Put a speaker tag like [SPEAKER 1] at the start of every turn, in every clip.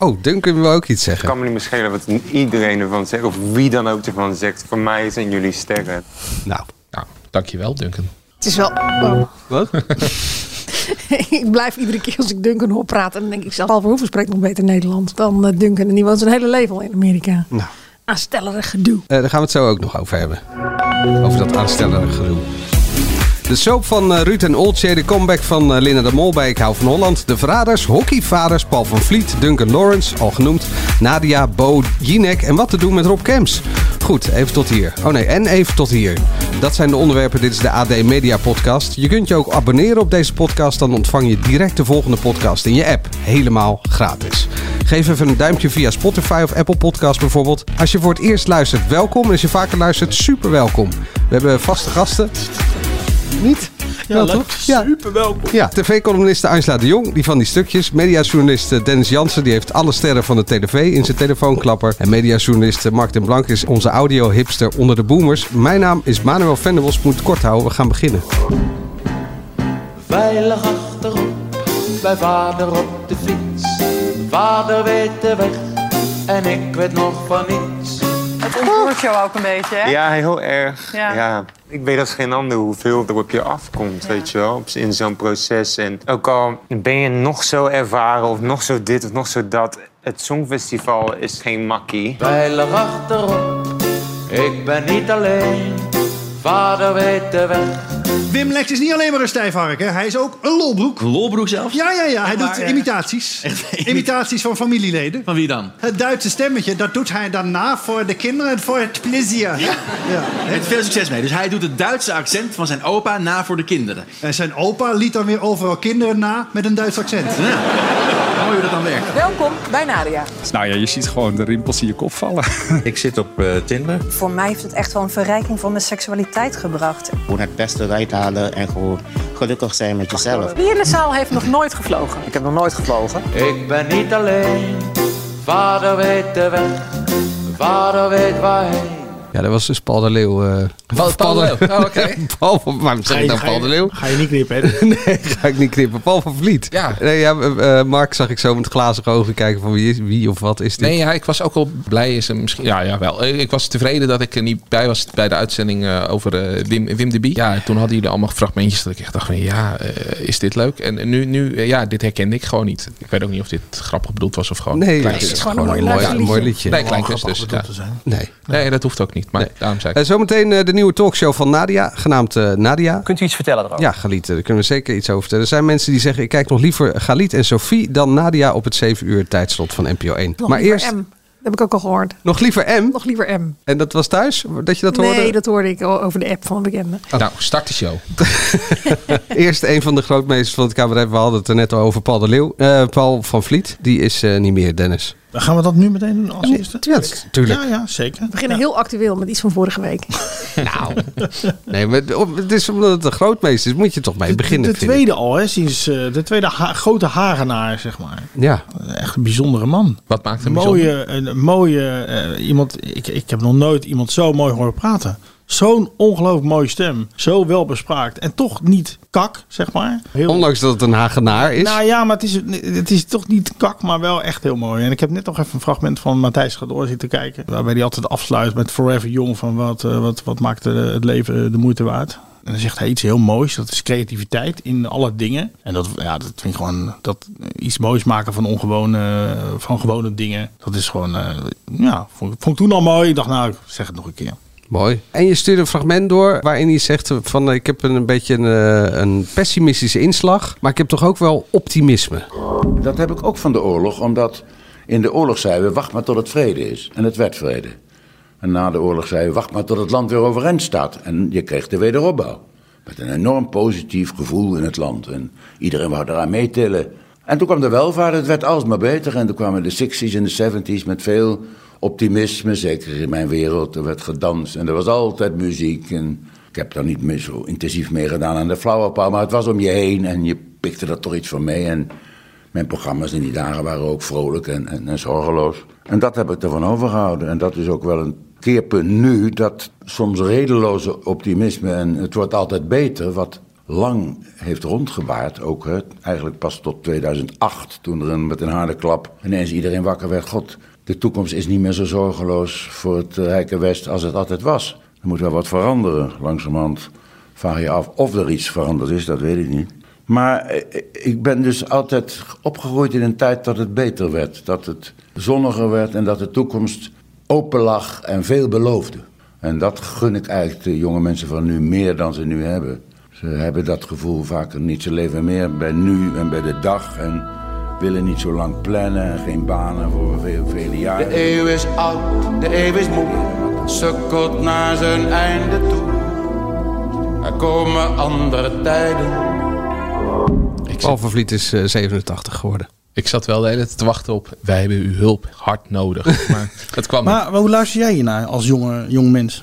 [SPEAKER 1] Oh, Duncan wil ook iets
[SPEAKER 2] Het
[SPEAKER 1] zeggen.
[SPEAKER 2] kan me niet meer schelen wat iedereen ervan zegt, of wie dan ook ervan zegt. Voor mij zijn jullie sterren.
[SPEAKER 1] Nou,
[SPEAKER 3] Nou, dankjewel, Duncan.
[SPEAKER 4] Het is wel. wow.
[SPEAKER 1] wat?
[SPEAKER 4] ik blijf iedere keer als ik Duncan hoor praten. Dan denk ik zelf, Paul Verhoeven spreekt nog beter Nederlands dan eh, Duncan. En die woont zijn hele leven al in Amerika.
[SPEAKER 1] nou.
[SPEAKER 4] Aanstellerig gedoe.
[SPEAKER 1] Eh, daar gaan we het zo ook nog over hebben. Over dat aanstellende gedoe. De soap van eh, Ruud en Oltje, de comeback van eh, Linda de Mol bij Ik hou van Holland. De verraders, hockeyvaders Paul van Vliet, Duncan Lawrence, al genoemd. Nadia, Bo, Jinek en wat te doen met Rob Kems. Goed, even tot hier. Oh nee, en even tot hier. Dat zijn de onderwerpen. Dit is de AD Media Podcast. Je kunt je ook abonneren op deze podcast. Dan ontvang je direct de volgende podcast in je app. Helemaal gratis. Geef even een duimpje via Spotify of Apple Podcast bijvoorbeeld. Als je voor het eerst luistert, welkom. En als je vaker luistert, super welkom. We hebben vaste gasten. Niet? Ja, toch? Ja.
[SPEAKER 3] Super welkom.
[SPEAKER 1] Ja, tv-columniste Angela de Jong, die van die stukjes. Mediajournalist eh, Dennis Jansen, die heeft alle sterren van de tv in zijn telefoonklapper. En mediajournalist eh, Mark den Blank is onze audio-hipster onder de boomers. Mijn naam is Manuel Venderbos, moet het kort houden, we gaan beginnen.
[SPEAKER 5] Veilig achterop, bij vader op de fiets. Vader weet de weg en ik weet nog van niets.
[SPEAKER 6] Het ontroert jou ook een beetje, hè?
[SPEAKER 2] Ja, heel erg.
[SPEAKER 6] Ja.
[SPEAKER 2] Ja. Ik weet als geen ander hoeveel er op je afkomt, weet je wel, op- in zo'n proces. En ook al ben je nog zo ervaren of nog zo dit of nog zo dat, het Songfestival is geen makkie.
[SPEAKER 5] Veilig achterop, ik ben niet alleen. Vader weet de weg.
[SPEAKER 7] Wim Lex is niet alleen maar een stijfhark, hè? hij is ook een lolbroek.
[SPEAKER 8] Lolbroek zelfs?
[SPEAKER 7] Ja, ja, ja, hij doet
[SPEAKER 8] maar, eh,
[SPEAKER 7] imitaties.
[SPEAKER 8] echt imita-
[SPEAKER 7] imitaties van familieleden.
[SPEAKER 8] Van wie dan?
[SPEAKER 7] Het Duitse stemmetje, dat doet hij daarna voor de kinderen en voor het plezier. Ja.
[SPEAKER 8] Met veel succes mee. Dus hij doet het Duitse accent van zijn opa na voor de kinderen.
[SPEAKER 7] En zijn opa liet dan weer overal kinderen na met een Duits accent.
[SPEAKER 8] Ja. Mooi hoe dat dan werkt.
[SPEAKER 6] Welkom bij Nadia.
[SPEAKER 9] Nou ja, je ziet gewoon de rimpels in je kop vallen.
[SPEAKER 10] Ik zit op eh, Tinder.
[SPEAKER 6] Voor mij heeft het echt wel een verrijking van mijn seksualiteit gebracht.
[SPEAKER 10] Gewoon het beste eruit halen en gewoon gelukkig zijn met jezelf.
[SPEAKER 6] Wie in de zaal heeft nog nooit gevlogen?
[SPEAKER 10] Ik heb nog nooit gevlogen.
[SPEAKER 5] Ik ben niet alleen. Vader weet de weg. Vader weet waarheen.
[SPEAKER 1] Ja, dat was dus Paul de Leeuw. eh.
[SPEAKER 3] Paul, Paul de Leeuw. Oh, oké.
[SPEAKER 1] Paul van, waarom zeg ik nou Paul de Leeuw?
[SPEAKER 9] Ga je niet knippen, hè?
[SPEAKER 1] Nee, ga ik niet knippen. Paul van Vliet.
[SPEAKER 3] Ja.
[SPEAKER 1] Nee, ja eh, eh, Mark zag ik zo met glazige ogen kijken van wie, is, wie of wat is dit.
[SPEAKER 3] Nee, ja, ik was ook wel blij. Is er misschien, ja, ja, wel. Ik was tevreden dat ik er niet bij was bij de uitzending eh, over eh, Wim, Wim de Bie. Ja, toen hadden jullie allemaal fragmentjes dat ik echt dacht van ja, eh, is dit leuk? En nu, nu eh, ja, dit herkende ik gewoon niet. Ik weet ook niet of dit grappig bedoeld was of gewoon
[SPEAKER 1] Nee,
[SPEAKER 3] klein
[SPEAKER 1] het is
[SPEAKER 3] kunst.
[SPEAKER 4] gewoon een mooi
[SPEAKER 1] mooi,
[SPEAKER 4] luisterliedje.
[SPEAKER 1] mooi liedje.
[SPEAKER 3] Nee, klein kunst dus. ja.
[SPEAKER 1] Nee.
[SPEAKER 3] Nee, dat hoeft ook niet. Maar
[SPEAKER 1] Nee.
[SPEAKER 3] daarom zei ik.
[SPEAKER 1] Eh, zometeen eh, de nieuwe talkshow van Nadia, genaamd eh, Nadia.
[SPEAKER 10] Kunt u iets vertellen erover?
[SPEAKER 1] Ja, Galit, eh, daar kunnen we zeker iets over vertellen. Er zijn mensen die zeggen, ik kijk nog liever Galit en Sophie dan Nadia op het 7 uur tijdslot van NPO 1.
[SPEAKER 4] Nog
[SPEAKER 1] maar
[SPEAKER 4] liever
[SPEAKER 1] eerst
[SPEAKER 4] M. Dat heb ik ook al gehoord.
[SPEAKER 1] nog liever M.
[SPEAKER 4] Nog liever M.
[SPEAKER 1] En dat was thuis, dat je dat
[SPEAKER 4] nee,
[SPEAKER 1] hoorde?
[SPEAKER 4] dat hoorde ik o- over de app van een bekende.
[SPEAKER 9] Eh,
[SPEAKER 3] Nou, start de show.
[SPEAKER 1] Eerst een van de grootmeesters van het cabaret. We hadden het er net al over Paul de Leeuw. Eh, Paul van Vliet, die is eh, niet meer, Dennis.
[SPEAKER 9] Dan gaan we dat nu meteen doen als eerste?
[SPEAKER 1] Ja, natuurlijk.
[SPEAKER 9] Ja, ja, zeker.
[SPEAKER 4] We beginnen heel actueel met iets van vorige week.
[SPEAKER 1] Nou, nee, maar het is omdat het een grootmeester is, moet je toch mee beginnen.
[SPEAKER 9] de
[SPEAKER 1] vind ik.
[SPEAKER 9] tweede al, hè, sinds eh, de tweede ha- grote Hagenaar, zeg maar.
[SPEAKER 1] Ja,
[SPEAKER 9] Echt een bijzondere man.
[SPEAKER 3] Wat maakt
[SPEAKER 9] Een
[SPEAKER 3] hem
[SPEAKER 9] mooie,
[SPEAKER 3] bijzonder?
[SPEAKER 9] een, een mooie eh, iemand. Ik, ik heb nog nooit iemand zo mooi horen praten. Zo'n ongelooflijk mooie stem. Zo welbespraakt. En toch niet kak, zeg maar. Heel,
[SPEAKER 1] ondanks dat het een Hagenaar is.
[SPEAKER 9] Nou ja, maar het is, het is toch niet kak, maar wel echt heel mooi. En ik heb net nog even een fragment van Matthijs Gadoor zitten kijken. Waarbij hij altijd afsluit met Forever Young. Van wat, eh, wat, wat maakt eh, het leven de moeite waard? En dan zegt hij iets heel moois. Dat is creativiteit in alle dingen. En dat, ja, dat vind ik gewoon... Dat eh, iets moois maken van ongewone, van gewone dingen. Dat is gewoon... eh, ja, vond, ik- vond ik toen al mooi. Ik dacht, nou, ik zeg het nog een keer.
[SPEAKER 1] Mooi. En je stuurt een fragment door waarin hij zegt van eh, ik heb een, een beetje een, eh, een pessimistische inslag, maar ik heb toch ook wel optimisme.
[SPEAKER 10] Dat heb ik ook van de oorlog, omdat in de oorlog zeiden we wacht maar tot het vrede is. En het werd vrede. En na de oorlog zeiden we wacht maar tot het land weer overeind staat. En je kreeg de wederopbouw. Met een enorm positief gevoel in het land. En iedereen wou eraan meetillen. En toen kwam de welvaart, het werd alsmaar beter. En toen kwamen de 60s en de 70s met veel optimisme, zeker in mijn wereld. Er werd gedanst en er was altijd muziek. En ik heb daar niet meer zo intensief mee gedaan aan de flauwepaal, maar het was om je heen en je pikte er toch iets van mee. En mijn programma's in die dagen waren ook vrolijk en, en, en zorgeloos. En dat heb ik ervan overgehouden. En dat is ook wel een keerpunt nu, dat soms redeloze optimisme en het wordt altijd beter, wat lang heeft rondgewaard. Ook hè, eigenlijk pas tot 2008, toen er een, met een harde klap ineens iedereen wakker werd. God, de toekomst is niet meer zo zorgeloos voor het eh, Rijke West als het altijd was. Er moet wel wat veranderen. Langzamerhand vraag je af of er iets veranderd is, dat weet ik niet. Maar eh, ik ben dus altijd opgegroeid in een tijd dat het beter werd. Dat het zonniger werd en dat de toekomst open lag en veel beloofde. En dat gun ik eigenlijk de jonge mensen van nu meer dan ze nu hebben. Ze hebben dat gevoel vaak niet. Ze leven meer bij nu en bij de dag. En willen niet zo lang plannen. en Geen banen voor veel, vele jaren.
[SPEAKER 5] De eeuw is oud, de eeuw is moe, sukkelt naar zijn einde toe. Er komen andere tijden.
[SPEAKER 1] Paul van Vliet is eh, 87 geworden.
[SPEAKER 3] Ik zat wel de hele tijd te wachten op. Wij hebben uw hulp hard nodig. Maar het kwam.
[SPEAKER 9] Maar, maar hoe luister jij hiernaar als jonge, jong mens?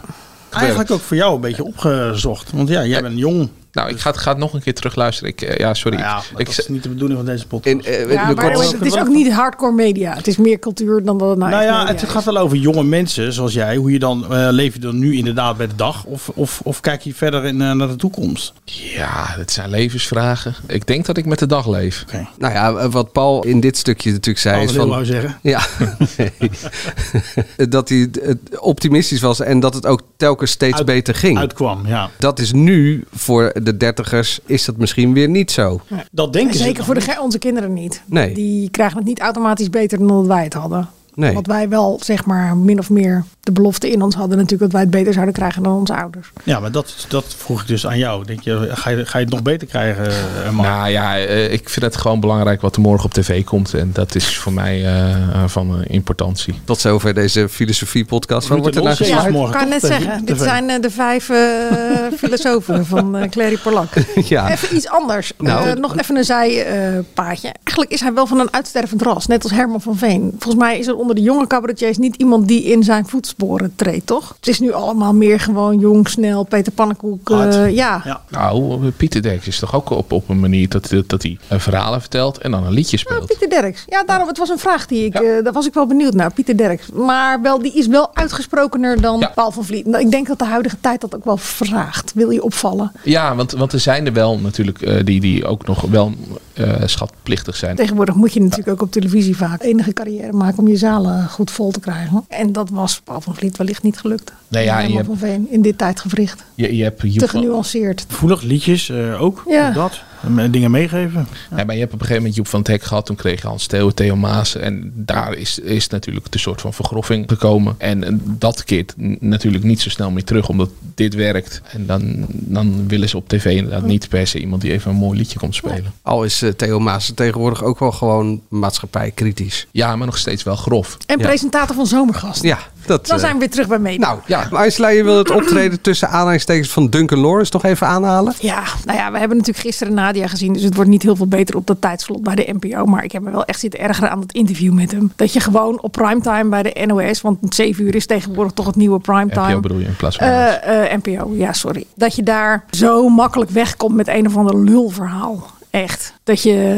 [SPEAKER 9] Eigenlijk ook voor jou een beetje opgezocht. Want ja, jij bent jong. Nou
[SPEAKER 3] Nou, ik ga, het- ga het nog een keer terugluisteren. Ik, eh, ja, sorry. ik,
[SPEAKER 9] Dat is niet de bedoening van deze podcast.
[SPEAKER 1] eh,
[SPEAKER 4] Ja, maar het is- het is ook niet hardcore media. Het is meer cultuur dan dat het nou,
[SPEAKER 9] Nou
[SPEAKER 4] echt
[SPEAKER 9] ja,
[SPEAKER 4] media
[SPEAKER 9] het
[SPEAKER 4] is.
[SPEAKER 9] gaat wel over jonge mensen zoals jij. Hoe je dan, eh, leef je dan nu inderdaad bij de dag? Of, of, of kijk je verder in, eh, naar de toekomst?
[SPEAKER 3] Ja, het zijn levensvragen. Ik denk dat ik met de dag leef.
[SPEAKER 1] Nou ja, wat Paul in dit stukje natuurlijk zei.
[SPEAKER 9] Paul
[SPEAKER 1] Is
[SPEAKER 9] de Leeuw
[SPEAKER 1] van,
[SPEAKER 9] wou nou zeggen.
[SPEAKER 1] Ja, nee. dat hij eh, optimistisch was en dat het ook telkens steeds
[SPEAKER 9] Uit-
[SPEAKER 1] beter ging.
[SPEAKER 9] Uitkwam, ja.
[SPEAKER 1] Dat is nu voor de dertigers is dat misschien weer niet zo.
[SPEAKER 9] Dat denken
[SPEAKER 4] En
[SPEAKER 9] ze
[SPEAKER 4] Zeker
[SPEAKER 9] dan
[SPEAKER 4] voor de, ge- onze kinderen niet.
[SPEAKER 1] Nee.
[SPEAKER 4] Die krijgen het niet automatisch beter dan dat wij het hadden.
[SPEAKER 1] Nee.
[SPEAKER 4] Want wij wel, zeg maar, min of meer de belofte in ons hadden natuurlijk dat wij het beter zouden krijgen dan onze ouders.
[SPEAKER 9] Ja, maar dat, dat vroeg ik dus aan jou. Denk je, ga, je, ga je het nog beter krijgen, eh, Mark?
[SPEAKER 3] Nou ja, eh, ik vind het gewoon belangrijk wat er morgen op tv komt. En dat is voor mij eh, van eh, importantie.
[SPEAKER 1] Tot zover deze filosofie-podcast. Waar
[SPEAKER 9] Ruud
[SPEAKER 1] wordt er
[SPEAKER 9] en
[SPEAKER 1] naar
[SPEAKER 9] Olsen is
[SPEAKER 1] geslaagd?
[SPEAKER 9] morgen.
[SPEAKER 4] Dus Ik kan net
[SPEAKER 9] toch?
[SPEAKER 4] zeggen, dit
[SPEAKER 9] TV.
[SPEAKER 4] zijn eh, de vijf eh, filosofen van eh Clary Polak.
[SPEAKER 1] Ja,
[SPEAKER 4] Even iets anders.
[SPEAKER 1] Nou.
[SPEAKER 4] Eh, nog even een zijpaadje. Eigenlijk is hij wel van een uitstervend ras, net als Herman van Veen. Volgens mij is er onder de jonge cabaretiers niet iemand die in zijn voetsporen treedt, toch? Het is nu allemaal meer gewoon jong, snel, Peter Pannenkoek. eh,
[SPEAKER 9] Hard.
[SPEAKER 4] ja.
[SPEAKER 9] Ja.
[SPEAKER 3] Nou, eh, Pieter Derks is toch ook op, op een manier dat, dat, dat hij eh, verhalen vertelt en dan een liedje
[SPEAKER 4] Nou,
[SPEAKER 3] speelt.
[SPEAKER 4] Pieter Derks. Ja, daarom, het was een vraag die ik, eh, daar was ik wel benieuwd naar, Pieter Derks. Maar wel, die is wel uitgesprokener dan
[SPEAKER 3] Ja.
[SPEAKER 4] Paul van Vliet. Nou, ik denk dat de huidige tijd dat ook wel vraagt. Wil je opvallen?
[SPEAKER 3] Ja, want, want er zijn er wel natuurlijk eh, die, die ook nog wel eh, schatplichtig zijn.
[SPEAKER 4] Tegenwoordig moet je natuurlijk ook op televisie vaak enige carrière maken om je zalen goed vol te krijgen. En dat was Paul van Vliet wellicht niet gelukt.
[SPEAKER 3] Nee, ja,
[SPEAKER 4] En
[SPEAKER 3] je
[SPEAKER 4] Herman
[SPEAKER 3] hebt-
[SPEAKER 4] van Veen in dit tijdgevricht.
[SPEAKER 3] Je, je hebt, je
[SPEAKER 4] Te genuanceerd.
[SPEAKER 9] Voelig, liedjes eh, ook.
[SPEAKER 4] Ja.
[SPEAKER 9] Dat. En eh, Dingen meegeven.
[SPEAKER 3] Ja, maar je hebt op een gegeven moment Joep van het Hek gehad. Toen kreeg je Hans Theo, Theo Maas. En daar is, is natuurlijk de soort van vergroffing gekomen. En eh, dat keert n- natuurlijk niet zo snel meer terug. Omdat dit werkt. En dan, dan willen ze op tv inderdaad niet per se iemand die even een mooi liedje komt spelen.
[SPEAKER 1] al is eh, Theo Maas tegenwoordig ook wel gewoon maatschappijkritisch.
[SPEAKER 3] Ja, maar nog steeds wel grof.
[SPEAKER 4] En
[SPEAKER 1] Ja.
[SPEAKER 4] presentator van Zomergast.
[SPEAKER 1] Ja, dat...
[SPEAKER 4] Dan
[SPEAKER 1] eh,
[SPEAKER 4] zijn we weer terug bij media.
[SPEAKER 1] nou, ja. Iceland, je wil het optreden tussen aanhalingstekens van Duncan Lawrence nog even aanhalen?
[SPEAKER 4] Ja, nou ja, we hebben natuurlijk gisteren Nadia gezien. Dus het wordt niet heel veel beter op dat tijdslot bij de NPO. Maar ik heb me wel echt zitten ergeren aan dat interview met hem. Dat je gewoon op primetime bij de NOS... want 7 uur is tegenwoordig toch het nieuwe primetime.
[SPEAKER 3] NPO bedoel je in plaats van...
[SPEAKER 4] Eh, eh, NPO, ja, sorry. Dat je daar zo makkelijk wegkomt met een of ander lulverhaal. Echt. Dat je,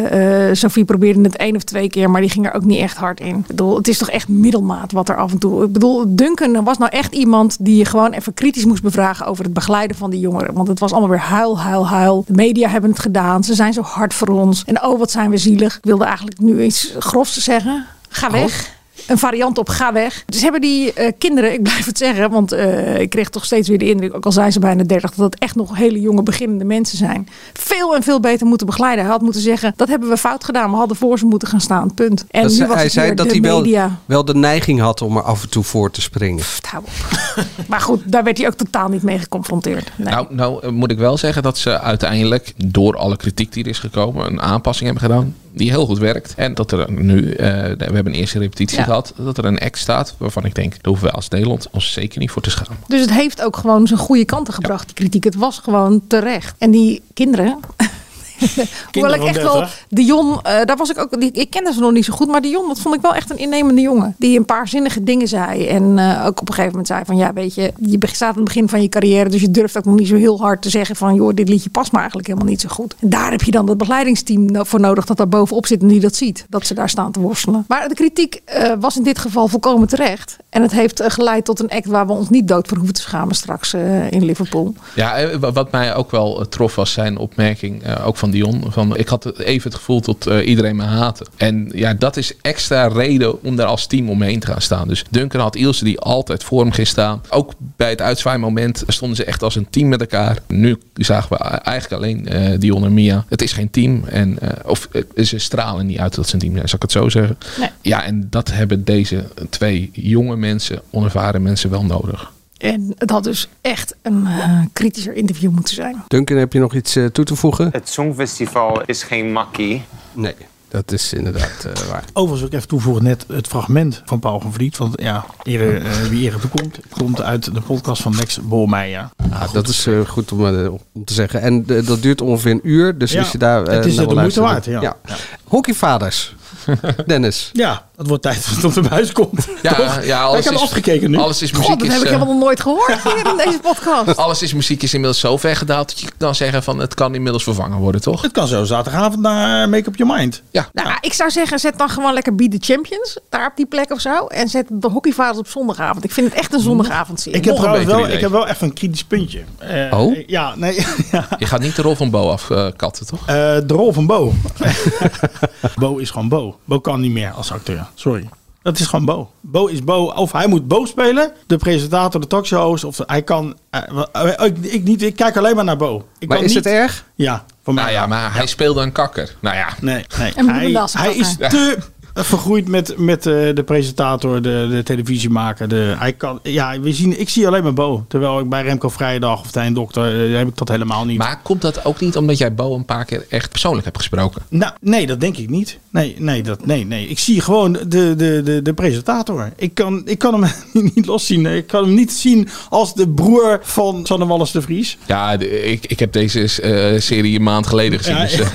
[SPEAKER 4] eh Sophie probeerde het één of twee keer, maar die ging er ook niet echt hard in. Ik bedoel, het is toch echt middelmaat wat er af en toe. Ik bedoel, Duncan was nou echt iemand die je gewoon even kritisch moest bevragen over het begeleiden van die jongeren. Want het was allemaal weer huil, huil, huil. De media hebben het gedaan. Ze zijn zo hard voor ons. En oh, wat zijn we zielig. Ik wilde eigenlijk nu iets grofs zeggen. Ga weg. Een variant op ga weg. Dus hebben die eh, kinderen, ik blijf het zeggen, want eh, ik kreeg toch steeds weer de indruk, ook al zijn ze bijna 30, dat het echt nog hele jonge beginnende mensen zijn. Veel en veel beter moeten begeleiden. Hij had moeten zeggen, dat hebben we fout gedaan. We hadden voor ze moeten gaan staan. Punt. En
[SPEAKER 1] Dat
[SPEAKER 4] nu
[SPEAKER 1] ze-
[SPEAKER 4] was
[SPEAKER 1] hij
[SPEAKER 4] het
[SPEAKER 1] zei
[SPEAKER 4] weer
[SPEAKER 1] dat
[SPEAKER 4] de
[SPEAKER 1] hij wel,
[SPEAKER 4] media.
[SPEAKER 1] wel de neiging had om er af en toe voor te springen.
[SPEAKER 4] Pff, hou op. maar goed, daar werd hij ook totaal niet mee geconfronteerd. Nee.
[SPEAKER 3] Nou, nou eh, moet ik wel zeggen dat ze uiteindelijk door alle kritiek die er is gekomen een aanpassing hebben gedaan die heel goed werkt. En dat er nu, eh, we hebben een eerste repetitie
[SPEAKER 4] Ja.
[SPEAKER 3] gehad, dat er een act staat waarvan ik denk, daar hoeven we als Nederland ons zeker niet voor te schamen.
[SPEAKER 4] Dus het heeft ook gewoon zijn goede kanten gebracht, die kritiek. Het was gewoon terecht. En die kinderen, Hoewel ik
[SPEAKER 9] van
[SPEAKER 4] echt wel
[SPEAKER 9] 30.
[SPEAKER 4] Dion, eh, daar was ik ook. die- ik kende ze nog niet zo goed, maar Dion, dat vond ik wel echt een innemende jongen. Die een paar zinnige dingen zei. En eh, ook op een gegeven moment zei van ja, weet je, je be- staat aan het begin van je carrière. Dus je durft ook nog niet zo heel hard te zeggen van joh, dit liedje past me eigenlijk helemaal niet zo goed. En daar heb je dan dat begeleidingsteam no- voor nodig dat daar bovenop zit en die dat ziet. Dat ze daar staan te worstelen. Maar de kritiek eh, was in dit geval volkomen terecht. En het heeft eh, geleid tot een act waar we ons niet dood voor hoeven te schamen straks eh, in Liverpool.
[SPEAKER 3] Ja, eh, wa- wat mij ook wel eh, trof was zijn opmerking, eh, ook van Dion. Van, ik had even het gevoel dat eh, iedereen me haatte. En ja, dat is extra reden om daar als team omheen te gaan staan. Dus Duncan had Ilse die altijd voor hem ging staan. Ook bij het uitzwaaimoment stonden ze echt als een team met elkaar. Nu zagen we eh, eigenlijk alleen eh, Dion en Mia. Het is geen team. En, eh, of eh, ze stralen niet uit dat ze een team zijn, zal ik het zo zeggen.
[SPEAKER 4] Nee.
[SPEAKER 3] Ja, en dat hebben deze twee jonge mensen, onervaren mensen wel nodig.
[SPEAKER 4] En het had dus echt een eh, kritischer interview moeten zijn.
[SPEAKER 1] Duncan, heb je nog iets eh, toe te voegen?
[SPEAKER 2] Het Songfestival is geen makkie.
[SPEAKER 1] Nee, dat is inderdaad eh, waar.
[SPEAKER 9] Overigens wil ik even toevoegen, net het fragment van Paul van Vliet. Want ja, eerder, eh, wie eerder toekomt, komt uit de podcast van Max Bolmeijer.
[SPEAKER 1] Ah, dat is eh, goed om, eh, om te zeggen. En eh, dat duurt ongeveer een uur, dus
[SPEAKER 9] Ja,
[SPEAKER 1] als je daar... eh,
[SPEAKER 9] het is
[SPEAKER 1] naar
[SPEAKER 9] de
[SPEAKER 1] wil
[SPEAKER 9] moeite
[SPEAKER 1] luisteren-
[SPEAKER 9] waard, ja.
[SPEAKER 1] Hockeyvaders. Dennis.
[SPEAKER 9] Ja, het wordt tijd dat het op de buis komt.
[SPEAKER 3] Ja,
[SPEAKER 9] Toch?
[SPEAKER 3] ja, alles
[SPEAKER 9] ik heb
[SPEAKER 3] is-
[SPEAKER 9] afgekeken nu.
[SPEAKER 3] alles is
[SPEAKER 4] God,
[SPEAKER 3] muziek
[SPEAKER 4] dat
[SPEAKER 3] is,
[SPEAKER 4] heb ik
[SPEAKER 3] eh,
[SPEAKER 4] helemaal nog nooit gehoord hier in deze podcast.
[SPEAKER 3] Alles is muziek is inmiddels zo ver gedaald dat je kan zeggen van het kan inmiddels vervangen worden, toch?
[SPEAKER 9] Het kan zo zaterdagavond naar eh, Make Up Your Mind.
[SPEAKER 4] Nou, ik zou zeggen, zet dan gewoon lekker Be The Champions. Daar op die plek of zo. En zet de hockeyvaders op zondagavond. Ik vind het echt een zondagavond
[SPEAKER 9] Ik heb,
[SPEAKER 3] een
[SPEAKER 9] trouwens
[SPEAKER 3] beter
[SPEAKER 9] wel,
[SPEAKER 3] idee.
[SPEAKER 9] ik heb wel even een kritisch puntje. Eh,
[SPEAKER 1] Oh?
[SPEAKER 9] eh, Ja, nee. ja.
[SPEAKER 3] Je gaat niet de rol van Bo afkatten, toch?
[SPEAKER 9] Eh, de rol van Bo. Bo is gewoon Bo. Bo kan niet meer als acteur. Sorry. Dat is gewoon Bo. Bo is Bo. Of hij moet Bo spelen. De presentator, de talkshows. Of de- hij kan... eh, wa- eh, ik, ik, niet, ik kijk alleen maar naar Bo. Ik
[SPEAKER 1] Maar
[SPEAKER 9] kan
[SPEAKER 1] is
[SPEAKER 9] niet-
[SPEAKER 1] het erg?
[SPEAKER 9] Ja, voor mij.
[SPEAKER 3] Nou ja, maar hij speelde een kakker. Nou ja,
[SPEAKER 9] Nee,
[SPEAKER 4] En
[SPEAKER 9] nee. Hij,
[SPEAKER 4] Bloemendaal is
[SPEAKER 9] hij
[SPEAKER 4] ook
[SPEAKER 9] is te vergroeid met, met eh, de presentator, de, de televisiemaker. De, hij kan, ja, we zien, ik zie alleen maar Bo. Terwijl ik bij Remco Vrijdag of Tijn Dokter eh, heb ik dat helemaal niet.
[SPEAKER 3] maar komt dat ook niet omdat jij Bo een paar keer echt persoonlijk hebt gesproken?
[SPEAKER 9] Nou, nee, dat denk ik niet. Nee, nee, dat, nee, nee. Ik zie gewoon de, de, de, de presentator. Ik kan, ik kan hem niet loszien. Ik kan hem niet zien als de broer van Sanne Wallis de Vries.
[SPEAKER 3] Ja, de- ik, ik heb deze eh, serie een maand geleden gezien. dus eh,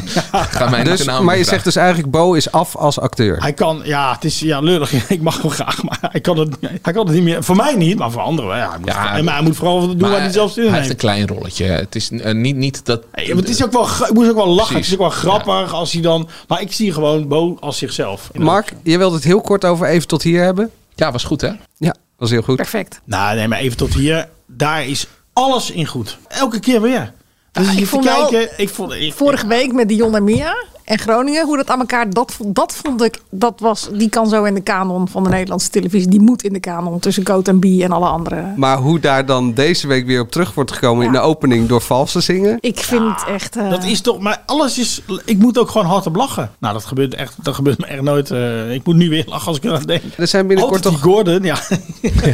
[SPEAKER 3] ga mij niet
[SPEAKER 1] Dus,
[SPEAKER 3] de naam
[SPEAKER 1] maar je
[SPEAKER 3] vragen.
[SPEAKER 1] zegt dus eigenlijk, Bo is af als acteur.
[SPEAKER 9] Hij kan, ja, het is ja, lullig. Ik mag hem graag, maar hij kan, het, hij kan het niet meer. Voor mij niet, maar voor anderen. wel. Ja, hij moet,
[SPEAKER 3] Ja,
[SPEAKER 9] en maar hij moet vooral doen
[SPEAKER 3] Maar
[SPEAKER 9] waar hij zelf zin in
[SPEAKER 3] hij heeft
[SPEAKER 9] heeft.
[SPEAKER 3] een klein rolletje. Het is eh, niet, niet dat...
[SPEAKER 9] Nee, maar het is ook wel, gra- ik moest ook wel lachen.
[SPEAKER 3] Precies.
[SPEAKER 9] Het is ook wel grappig als hij dan. Maar ik zie gewoon Bo als zichzelf.
[SPEAKER 1] Mark, je wilde het heel kort over even tot hier hebben?
[SPEAKER 3] Ja, was goed hè?
[SPEAKER 1] Ja, dat was heel goed.
[SPEAKER 4] Perfect.
[SPEAKER 9] Nou, nee, maar even tot hier. Daar is alles in goed. Elke keer weer. Dus
[SPEAKER 4] Ah, ik
[SPEAKER 9] ik
[SPEAKER 4] vond
[SPEAKER 9] vond
[SPEAKER 4] wel-
[SPEAKER 9] kijken. ik vond, ik-
[SPEAKER 4] Vorige week met Dion en Mia en Groningen. Hoe dat aan elkaar, dat, vond- dat vond ik, dat was, die kan zo in de kanon van de Nederlandse televisie. Die moet in de kanon tussen Goat en B en alle andere.
[SPEAKER 1] Maar hoe daar dan deze week weer op terug wordt gekomen in
[SPEAKER 4] Ja.
[SPEAKER 1] de opening door vals te zingen.
[SPEAKER 4] Ik vind het echt... eh,
[SPEAKER 9] dat is toch, maar alles is. Ik moet ook gewoon hard op lachen. Nou, dat gebeurt echt. Dat gebeurt me echt nooit. eh, ik moet nu weer lachen als ik eraan denk.
[SPEAKER 1] Er zijn binnenkort
[SPEAKER 9] Altijd die
[SPEAKER 1] toch...
[SPEAKER 9] Gordon, ja.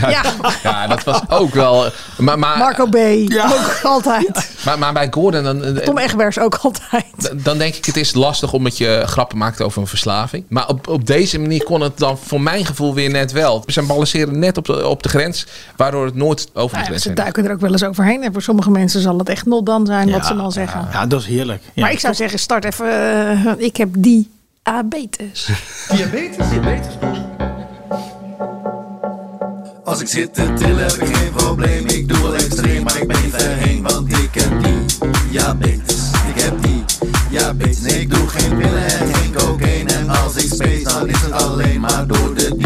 [SPEAKER 4] ja,
[SPEAKER 3] Ja, dat was ook wel... Maar, maar,
[SPEAKER 4] Marco B. Ook altijd.
[SPEAKER 3] maar, maar bij Gordon... Dan,
[SPEAKER 4] Tom Egbers ook altijd.
[SPEAKER 3] D- dan denk ik, het is lastig omdat je grappen maakt over een verslaving. Maar op, op deze manier kon het dan voor mijn gevoel weer net wel. Ze balanceren net op de, op de grens, waardoor het nooit over de
[SPEAKER 4] Nou ja,
[SPEAKER 3] grens
[SPEAKER 4] ze
[SPEAKER 3] heen
[SPEAKER 4] duiken er ook wel eens overheen. En voor sommige mensen zal het echt not dan zijn wat ze dan zeggen.
[SPEAKER 9] Ja, dat is heerlijk. Ja.
[SPEAKER 4] maar ik zou zeggen, start even. eh, ik heb die diabetes.
[SPEAKER 7] Diabetes?
[SPEAKER 5] Als ik zit te tillen heb ik geen probleem. Ik doe wel extreem, maar ik ben verheen. Want ik heb die diabetes. Ik heb die diabetes. Nee, ik doe geen pillen en geen cocaïne. En als ik space, dan is het alleen maar door de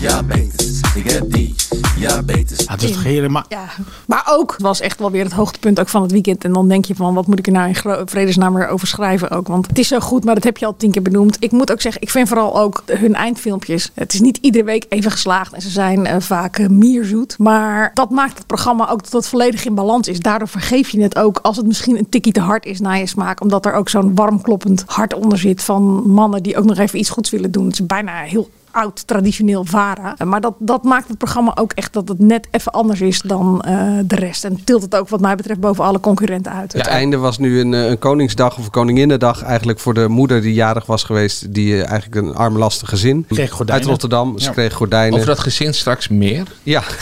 [SPEAKER 5] diabetes. Ik heb die diabetes.
[SPEAKER 9] Ja, het is toch heerlijk. Maar
[SPEAKER 4] Ja. Maar ook het was echt wel weer het hoogtepunt ook van het weekend. En dan denk je van, wat moet ik er nou in gro- vredesnaam weer over schrijven ook? Want het is zo goed, maar dat heb je al tien keer benoemd. Ik moet ook zeggen, ik vind vooral ook hun eindfilmpjes. Het is niet iedere week even geslaagd. En ze zijn eh, vaak eh, mierzoet. Maar dat maakt het programma ook dat het volledig in balans is. Daardoor vergeef je het ook als het misschien een tikkie te hard is naar je smaak. Omdat er ook zo'n warm kloppend hart onder zit van mannen die ook nog even iets goeds willen doen. Het is bijna heel oud traditioneel VARA. Maar dat, dat maakt het programma ook echt dat het net even anders is dan eh, de rest. En tilt het ook wat mij betreft boven alle concurrenten uit.
[SPEAKER 1] Het einde was nu een, eh, een Koningsdag of Koninginnedag. Eigenlijk voor de moeder die jarig was geweest. Die eh, eigenlijk een arm lastig gezin. Uit Rotterdam. Ze
[SPEAKER 3] Ja.
[SPEAKER 1] kreeg gordijnen.
[SPEAKER 3] Over dat gezin straks meer.
[SPEAKER 1] Ja,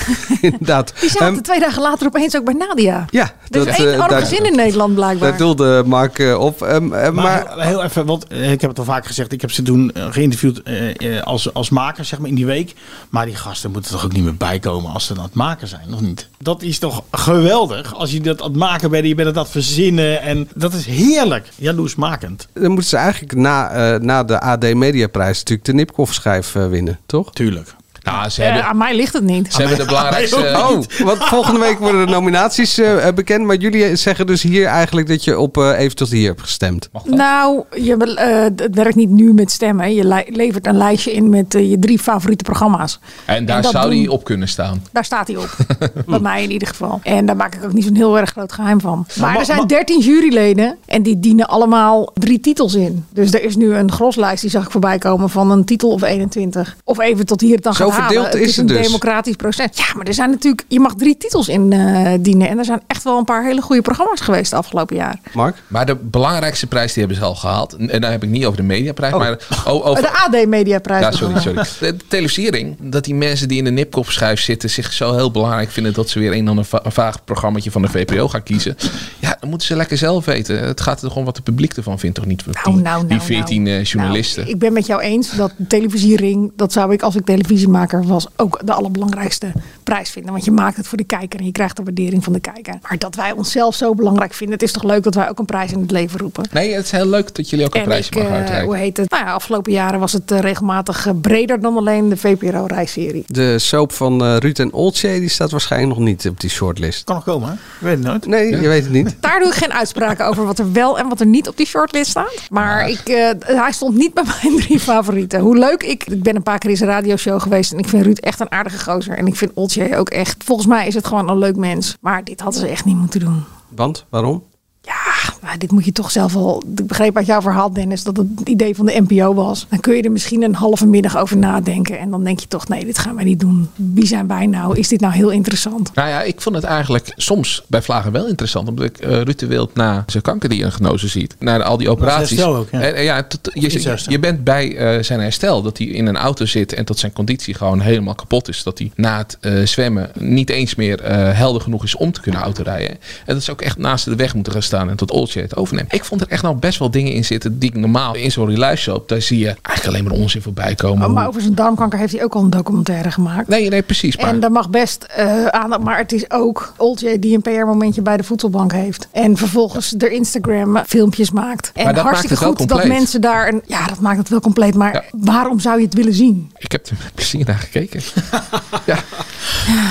[SPEAKER 1] inderdaad.
[SPEAKER 4] Die zaten
[SPEAKER 1] Ehm,
[SPEAKER 4] twee dagen later opeens ook bij Nadia.
[SPEAKER 1] ja,
[SPEAKER 4] Er is één
[SPEAKER 1] eh,
[SPEAKER 4] arm
[SPEAKER 1] daar-
[SPEAKER 4] gezin in Nederland
[SPEAKER 1] Daar
[SPEAKER 4] blijkbaar.
[SPEAKER 1] doelde Mark eh, op. Ehm, eh,
[SPEAKER 9] Maar,
[SPEAKER 1] maar
[SPEAKER 9] heel, heel even, want eh, ik heb het al vaak gezegd. Ik heb ze toen eh, geïnterviewd eh, eh, als, als maker, zeg maar, in die week. Maar die gasten moeten toch ook niet meer bijkomen als ze aan het maken zijn, nog niet? Dat is toch geweldig als je dat aan het maken bent. Je bent het aan het verzinnen. En dat is heerlijk. Jaloersmakend.
[SPEAKER 1] dan moeten ze eigenlijk na, eh, na de AD Mediaprijs natuurlijk de Nipkoff-schijf eh, winnen, toch?
[SPEAKER 9] Tuurlijk.
[SPEAKER 3] Nou, ze
[SPEAKER 4] Eh,
[SPEAKER 3] hebben,
[SPEAKER 4] aan mij ligt het niet.
[SPEAKER 3] ze hebben de belangrijkste...
[SPEAKER 1] Oh, want volgende week worden de nominaties eh, bekend. Maar jullie zeggen dus hier eigenlijk dat je op eh, even tot hier hebt gestemd.
[SPEAKER 4] Nou, je, bel- eh, het werkt niet nu met stemmen. Je le- levert een lijstje in met eh, je drie favoriete programma's.
[SPEAKER 3] En
[SPEAKER 4] En
[SPEAKER 3] daar
[SPEAKER 4] dat
[SPEAKER 3] zou hij
[SPEAKER 4] doen-
[SPEAKER 3] op kunnen staan.
[SPEAKER 4] Daar staat hij op. Bij mij in ieder geval. En daar maak ik ook niet zo'n heel erg groot geheim van.
[SPEAKER 1] Nou,
[SPEAKER 4] Maar er zijn dertien juryleden en die dienen allemaal drie titels in. Dus er is nu een groslijst, die zag ik voorbij komen, van een titel of 21. Of even tot hier het dan
[SPEAKER 1] Zo
[SPEAKER 4] gaat halen.
[SPEAKER 1] verdeeld
[SPEAKER 4] Het
[SPEAKER 1] is
[SPEAKER 4] is
[SPEAKER 1] het
[SPEAKER 4] een
[SPEAKER 1] dus.
[SPEAKER 4] democratisch proces. Ja, maar er zijn natuurlijk, je mag drie titels in eh, dienen. En er zijn echt wel een paar hele goede programma's geweest de afgelopen jaar.
[SPEAKER 1] Mark?
[SPEAKER 3] Maar de belangrijkste prijs die hebben ze al gehaald. En daar heb ik niet over de
[SPEAKER 4] Oh.
[SPEAKER 3] mediaprijs, maar o- over...
[SPEAKER 4] De AD Mediaprijs.
[SPEAKER 3] Ja, sorry, sorry. De de televisiering, dat die mensen die in de nipkopschuif zitten zich zo heel belangrijk vinden dat ze weer een en ander va- vaag programmaatje van de VPO gaan kiezen. Ja, dat moeten ze lekker zelf weten. Het gaat er gewoon wat het publiek ervan vindt, toch niet?
[SPEAKER 4] Nou, nou, nou,
[SPEAKER 3] die 14
[SPEAKER 4] nou.
[SPEAKER 3] eh, journalisten.
[SPEAKER 4] Nou, ik ben met jou eens dat de televisiering, dat zou ik als ik televisiemaker was, ook de allerbelangrijkste prijs vinden. Want je maakt het voor de kijker en je krijgt de waardering van de kijker. Maar dat wij onszelf zo belangrijk vinden, het is toch leuk dat wij ook een prijs in het leven roepen.
[SPEAKER 3] Nee, het is heel leuk dat jullie ook een
[SPEAKER 4] En
[SPEAKER 3] prijsje
[SPEAKER 4] ik,
[SPEAKER 3] mogen
[SPEAKER 4] eh,
[SPEAKER 3] uitreiken.
[SPEAKER 4] hoe heet het? Nou ja, afgelopen jaren was het eh, regelmatig eh, breder dan alleen de VPRO-reisserie.
[SPEAKER 1] De soap van eh, Ruud en Oltje die staat waarschijnlijk nog niet op die shortlist.
[SPEAKER 9] Kan nog komen, hè? Ik weet het nooit.
[SPEAKER 1] Nee, je weet het niet.
[SPEAKER 4] Daar doe ik geen uitspraken over wat er wel en wat er niet op die shortlist staat. Maar ik, eh, hij stond niet bij mijn drie favorieten. Hoe leuk ik. Ik ben een paar keer in zijn radioshow geweest. En ik vind Ruud echt een aardige gozer. En ik vind Oltje ook echt. Volgens mij is het gewoon een leuk mens. Maar dit hadden ze echt niet moeten doen.
[SPEAKER 1] Want, waarom?
[SPEAKER 4] Ja, maar dit moet je toch zelf wel. Ik begreep uit jouw verhaal, Dennis, dat het het idee van de NPO was. Dan kun je er misschien een halve middag over nadenken. En dan denk je toch: nee, dit gaan wij niet doen. Wie zijn wij nou? Is dit nou heel interessant?
[SPEAKER 3] Nou ja, ik vond het eigenlijk soms bij Vlagen wel interessant. Omdat ik eh Ruud de Wild na zijn kanker die een genozen ziet. Naar al die operaties.
[SPEAKER 9] herstel ook, ja.
[SPEAKER 3] En, eh, ja, tot-
[SPEAKER 9] Is
[SPEAKER 3] je,
[SPEAKER 9] herstel.
[SPEAKER 3] je bent bij eh, zijn herstel. Dat hij in een auto zit en dat zijn conditie gewoon helemaal kapot is. Dat hij na het eh, zwemmen niet eens meer eh, helder genoeg is om te kunnen autorijden. En dat ze ook echt naast de weg moeten gaan staan en tot Oltje het overneemt. Ik vond er echt nou best wel dingen in zitten die ik normaal in zo'n reluistershop. Daar zie je eigenlijk alleen maar onzin voorbij komen.
[SPEAKER 4] Oh, Maar over zijn darmkanker heeft hij ook al een documentaire gemaakt.
[SPEAKER 3] Nee, nee, precies. Maar...
[SPEAKER 4] En daar mag best eh aandacht, maar het is ook Oltje die een PR-momentje bij de voedselbank heeft. En vervolgens er Instagram-filmpjes maakt. En
[SPEAKER 3] Maar dat
[SPEAKER 4] hartstikke
[SPEAKER 3] maakt het wel
[SPEAKER 4] goed dat
[SPEAKER 3] compleet.
[SPEAKER 4] mensen daar... Een, ja, dat maakt het wel compleet, maar
[SPEAKER 3] Ja.
[SPEAKER 4] waarom zou je het willen zien?
[SPEAKER 3] Ik heb er met plezier naar gekeken.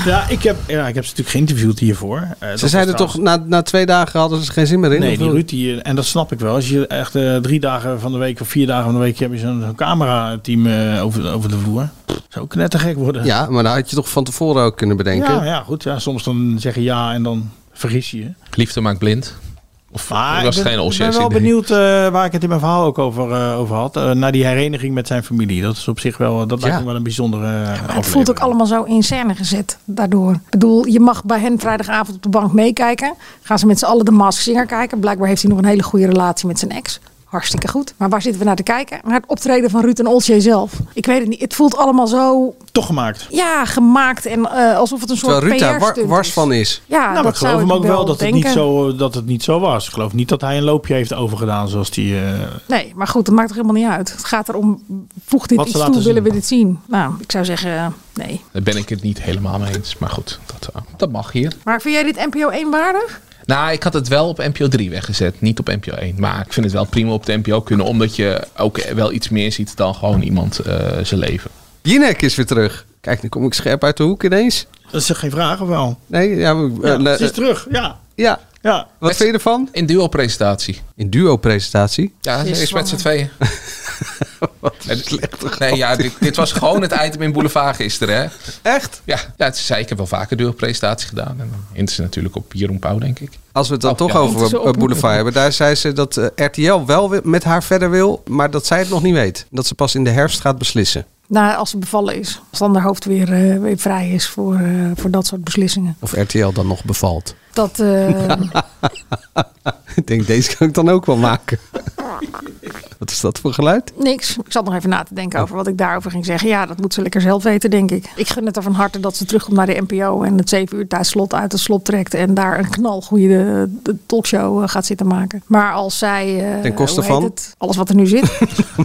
[SPEAKER 9] Ja, ik heb, ja, ik heb ze natuurlijk geïnterviewd hiervoor. Eh, dat
[SPEAKER 1] Ze
[SPEAKER 9] was
[SPEAKER 1] zeiden
[SPEAKER 9] trouwens-
[SPEAKER 1] toch, na, na twee dagen hadden ze er geen zin meer in?
[SPEAKER 9] Nee,
[SPEAKER 1] of
[SPEAKER 9] die
[SPEAKER 1] wel?
[SPEAKER 9] Ruud, die, eh, en dat snap ik wel. Als je echt eh, drie dagen van de week of vier dagen van de week heb je zo'n zo'n camerateam eh, over, over de vloer. Zou knettergek worden.
[SPEAKER 1] Ja, maar nou had je toch van tevoren ook kunnen bedenken.
[SPEAKER 9] ja, ja, goed. Ja, soms dan zeggen ja en dan vergis je je.
[SPEAKER 3] Liefde maakt blind. Of
[SPEAKER 9] Maar
[SPEAKER 3] was
[SPEAKER 9] ik
[SPEAKER 3] het
[SPEAKER 9] ben,
[SPEAKER 3] geen
[SPEAKER 9] ik ben
[SPEAKER 3] Olsjes
[SPEAKER 9] wel
[SPEAKER 3] idee?
[SPEAKER 9] benieuwd eh, waar ik het in mijn verhaal ook over, eh, over had. Eh, naar die hereniging met zijn familie. Dat is op zich wel, eh, dat lijkt
[SPEAKER 1] Ja.
[SPEAKER 9] me wel een bijzondere eh,
[SPEAKER 4] Maar het
[SPEAKER 9] aflevering.
[SPEAKER 4] voelt ook allemaal zo in scène gezet daardoor. Ik bedoel, je mag bij hen vrijdagavond op de bank meekijken. Gaan ze met z'n allen de Mask Singer kijken. Blijkbaar heeft hij nog een hele goede relatie met zijn ex. Hartstikke goed. Maar waar zitten we naar te kijken? Naar het optreden van Ruud en Olsje zelf. Ik weet het niet. Het voelt allemaal zo
[SPEAKER 9] Toch gemaakt.
[SPEAKER 4] ja, gemaakt en eh, alsof het een soort
[SPEAKER 1] Terwijl Ruud daar
[SPEAKER 4] PR-stunt
[SPEAKER 1] war-
[SPEAKER 4] is.
[SPEAKER 1] wars van is.
[SPEAKER 4] Ja,
[SPEAKER 9] nou, maar
[SPEAKER 4] dat
[SPEAKER 9] ik geloof
[SPEAKER 4] zou
[SPEAKER 9] hem ook wel dat het,
[SPEAKER 4] denken.
[SPEAKER 9] niet zo, eh, dat het niet zo was. Ik geloof niet dat hij een loopje heeft overgedaan zoals die... eh,
[SPEAKER 4] Nee, maar goed, dat maakt toch helemaal niet uit. Het gaat erom, voeg dit
[SPEAKER 9] Wat ze
[SPEAKER 4] iets toe,
[SPEAKER 9] laten
[SPEAKER 4] willen we
[SPEAKER 9] zien.
[SPEAKER 4] dit zien? Nou, ik zou zeggen, eh, nee.
[SPEAKER 3] Daar ben ik het niet helemaal mee eens. Maar goed, dat, eh, dat mag hier.
[SPEAKER 4] Maar vind jij dit NPO 1 waardig?
[SPEAKER 3] Nou, ik had het wel op NPO 3 weggezet. Niet op NPO 1. Maar ik vind het wel prima op de NPO kunnen. Omdat je ook wel iets meer ziet dan gewoon iemand eh, zijn leven.
[SPEAKER 1] Jinek is weer terug. Kijk, nu kom ik scherp uit de hoek ineens.
[SPEAKER 9] dat is geen vraag of wel?
[SPEAKER 1] Nee, ja. we-
[SPEAKER 9] Ja,
[SPEAKER 1] eh, le-
[SPEAKER 9] ze is terug, ja.
[SPEAKER 1] ja.
[SPEAKER 9] ja.
[SPEAKER 1] Wat vind je ervan?
[SPEAKER 3] In duo-presentatie.
[SPEAKER 1] In duo-presentatie.
[SPEAKER 3] Ja,
[SPEAKER 4] Ze
[SPEAKER 3] ze
[SPEAKER 4] is
[SPEAKER 3] is met z'n tweeën.
[SPEAKER 1] Wat
[SPEAKER 3] En- Nee, ja, dit, dit was gewoon het item in Boulevard gisteren. Hè?
[SPEAKER 1] Echt?
[SPEAKER 3] Ja, ja het zei, ik heb wel vaker duo-presentatie gedaan. En dan hint ze natuurlijk op Jeroen Pauw, denk ik.
[SPEAKER 1] Als we het dan
[SPEAKER 3] Oh,
[SPEAKER 1] toch
[SPEAKER 3] ja.
[SPEAKER 1] over
[SPEAKER 4] Moeten ze
[SPEAKER 1] eh,
[SPEAKER 4] op-
[SPEAKER 1] Boulevard hebben. Daar zei ze dat eh, RTL wel wi- met haar verder wil. Maar dat zij het nog niet weet. Dat ze pas in de herfst gaat beslissen.
[SPEAKER 4] Na, Nou, als ze bevallen is. Als dan haar hoofd weer, eh, weer vrij is voor, eh, voor dat soort beslissingen.
[SPEAKER 1] Of RTL dan nog bevalt.
[SPEAKER 4] Dat, eh,
[SPEAKER 1] ik denk, deze kan ik dan ook wel maken. Wat is dat voor geluid?
[SPEAKER 4] Niks. Ik zat nog even na te denken over wat ik daarover ging zeggen. Ja, dat moet ze lekker zelf weten, denk ik. Ik gun het er van harte dat ze terugkomt naar de NPO en het 7 uur tijdslot uit het slot trekt en daar een knalgoede eh, talkshow eh, gaat zitten maken. Maar als zij. eh,
[SPEAKER 1] Ten koste
[SPEAKER 4] hoe heet
[SPEAKER 1] van?
[SPEAKER 4] het? alles wat er nu zit.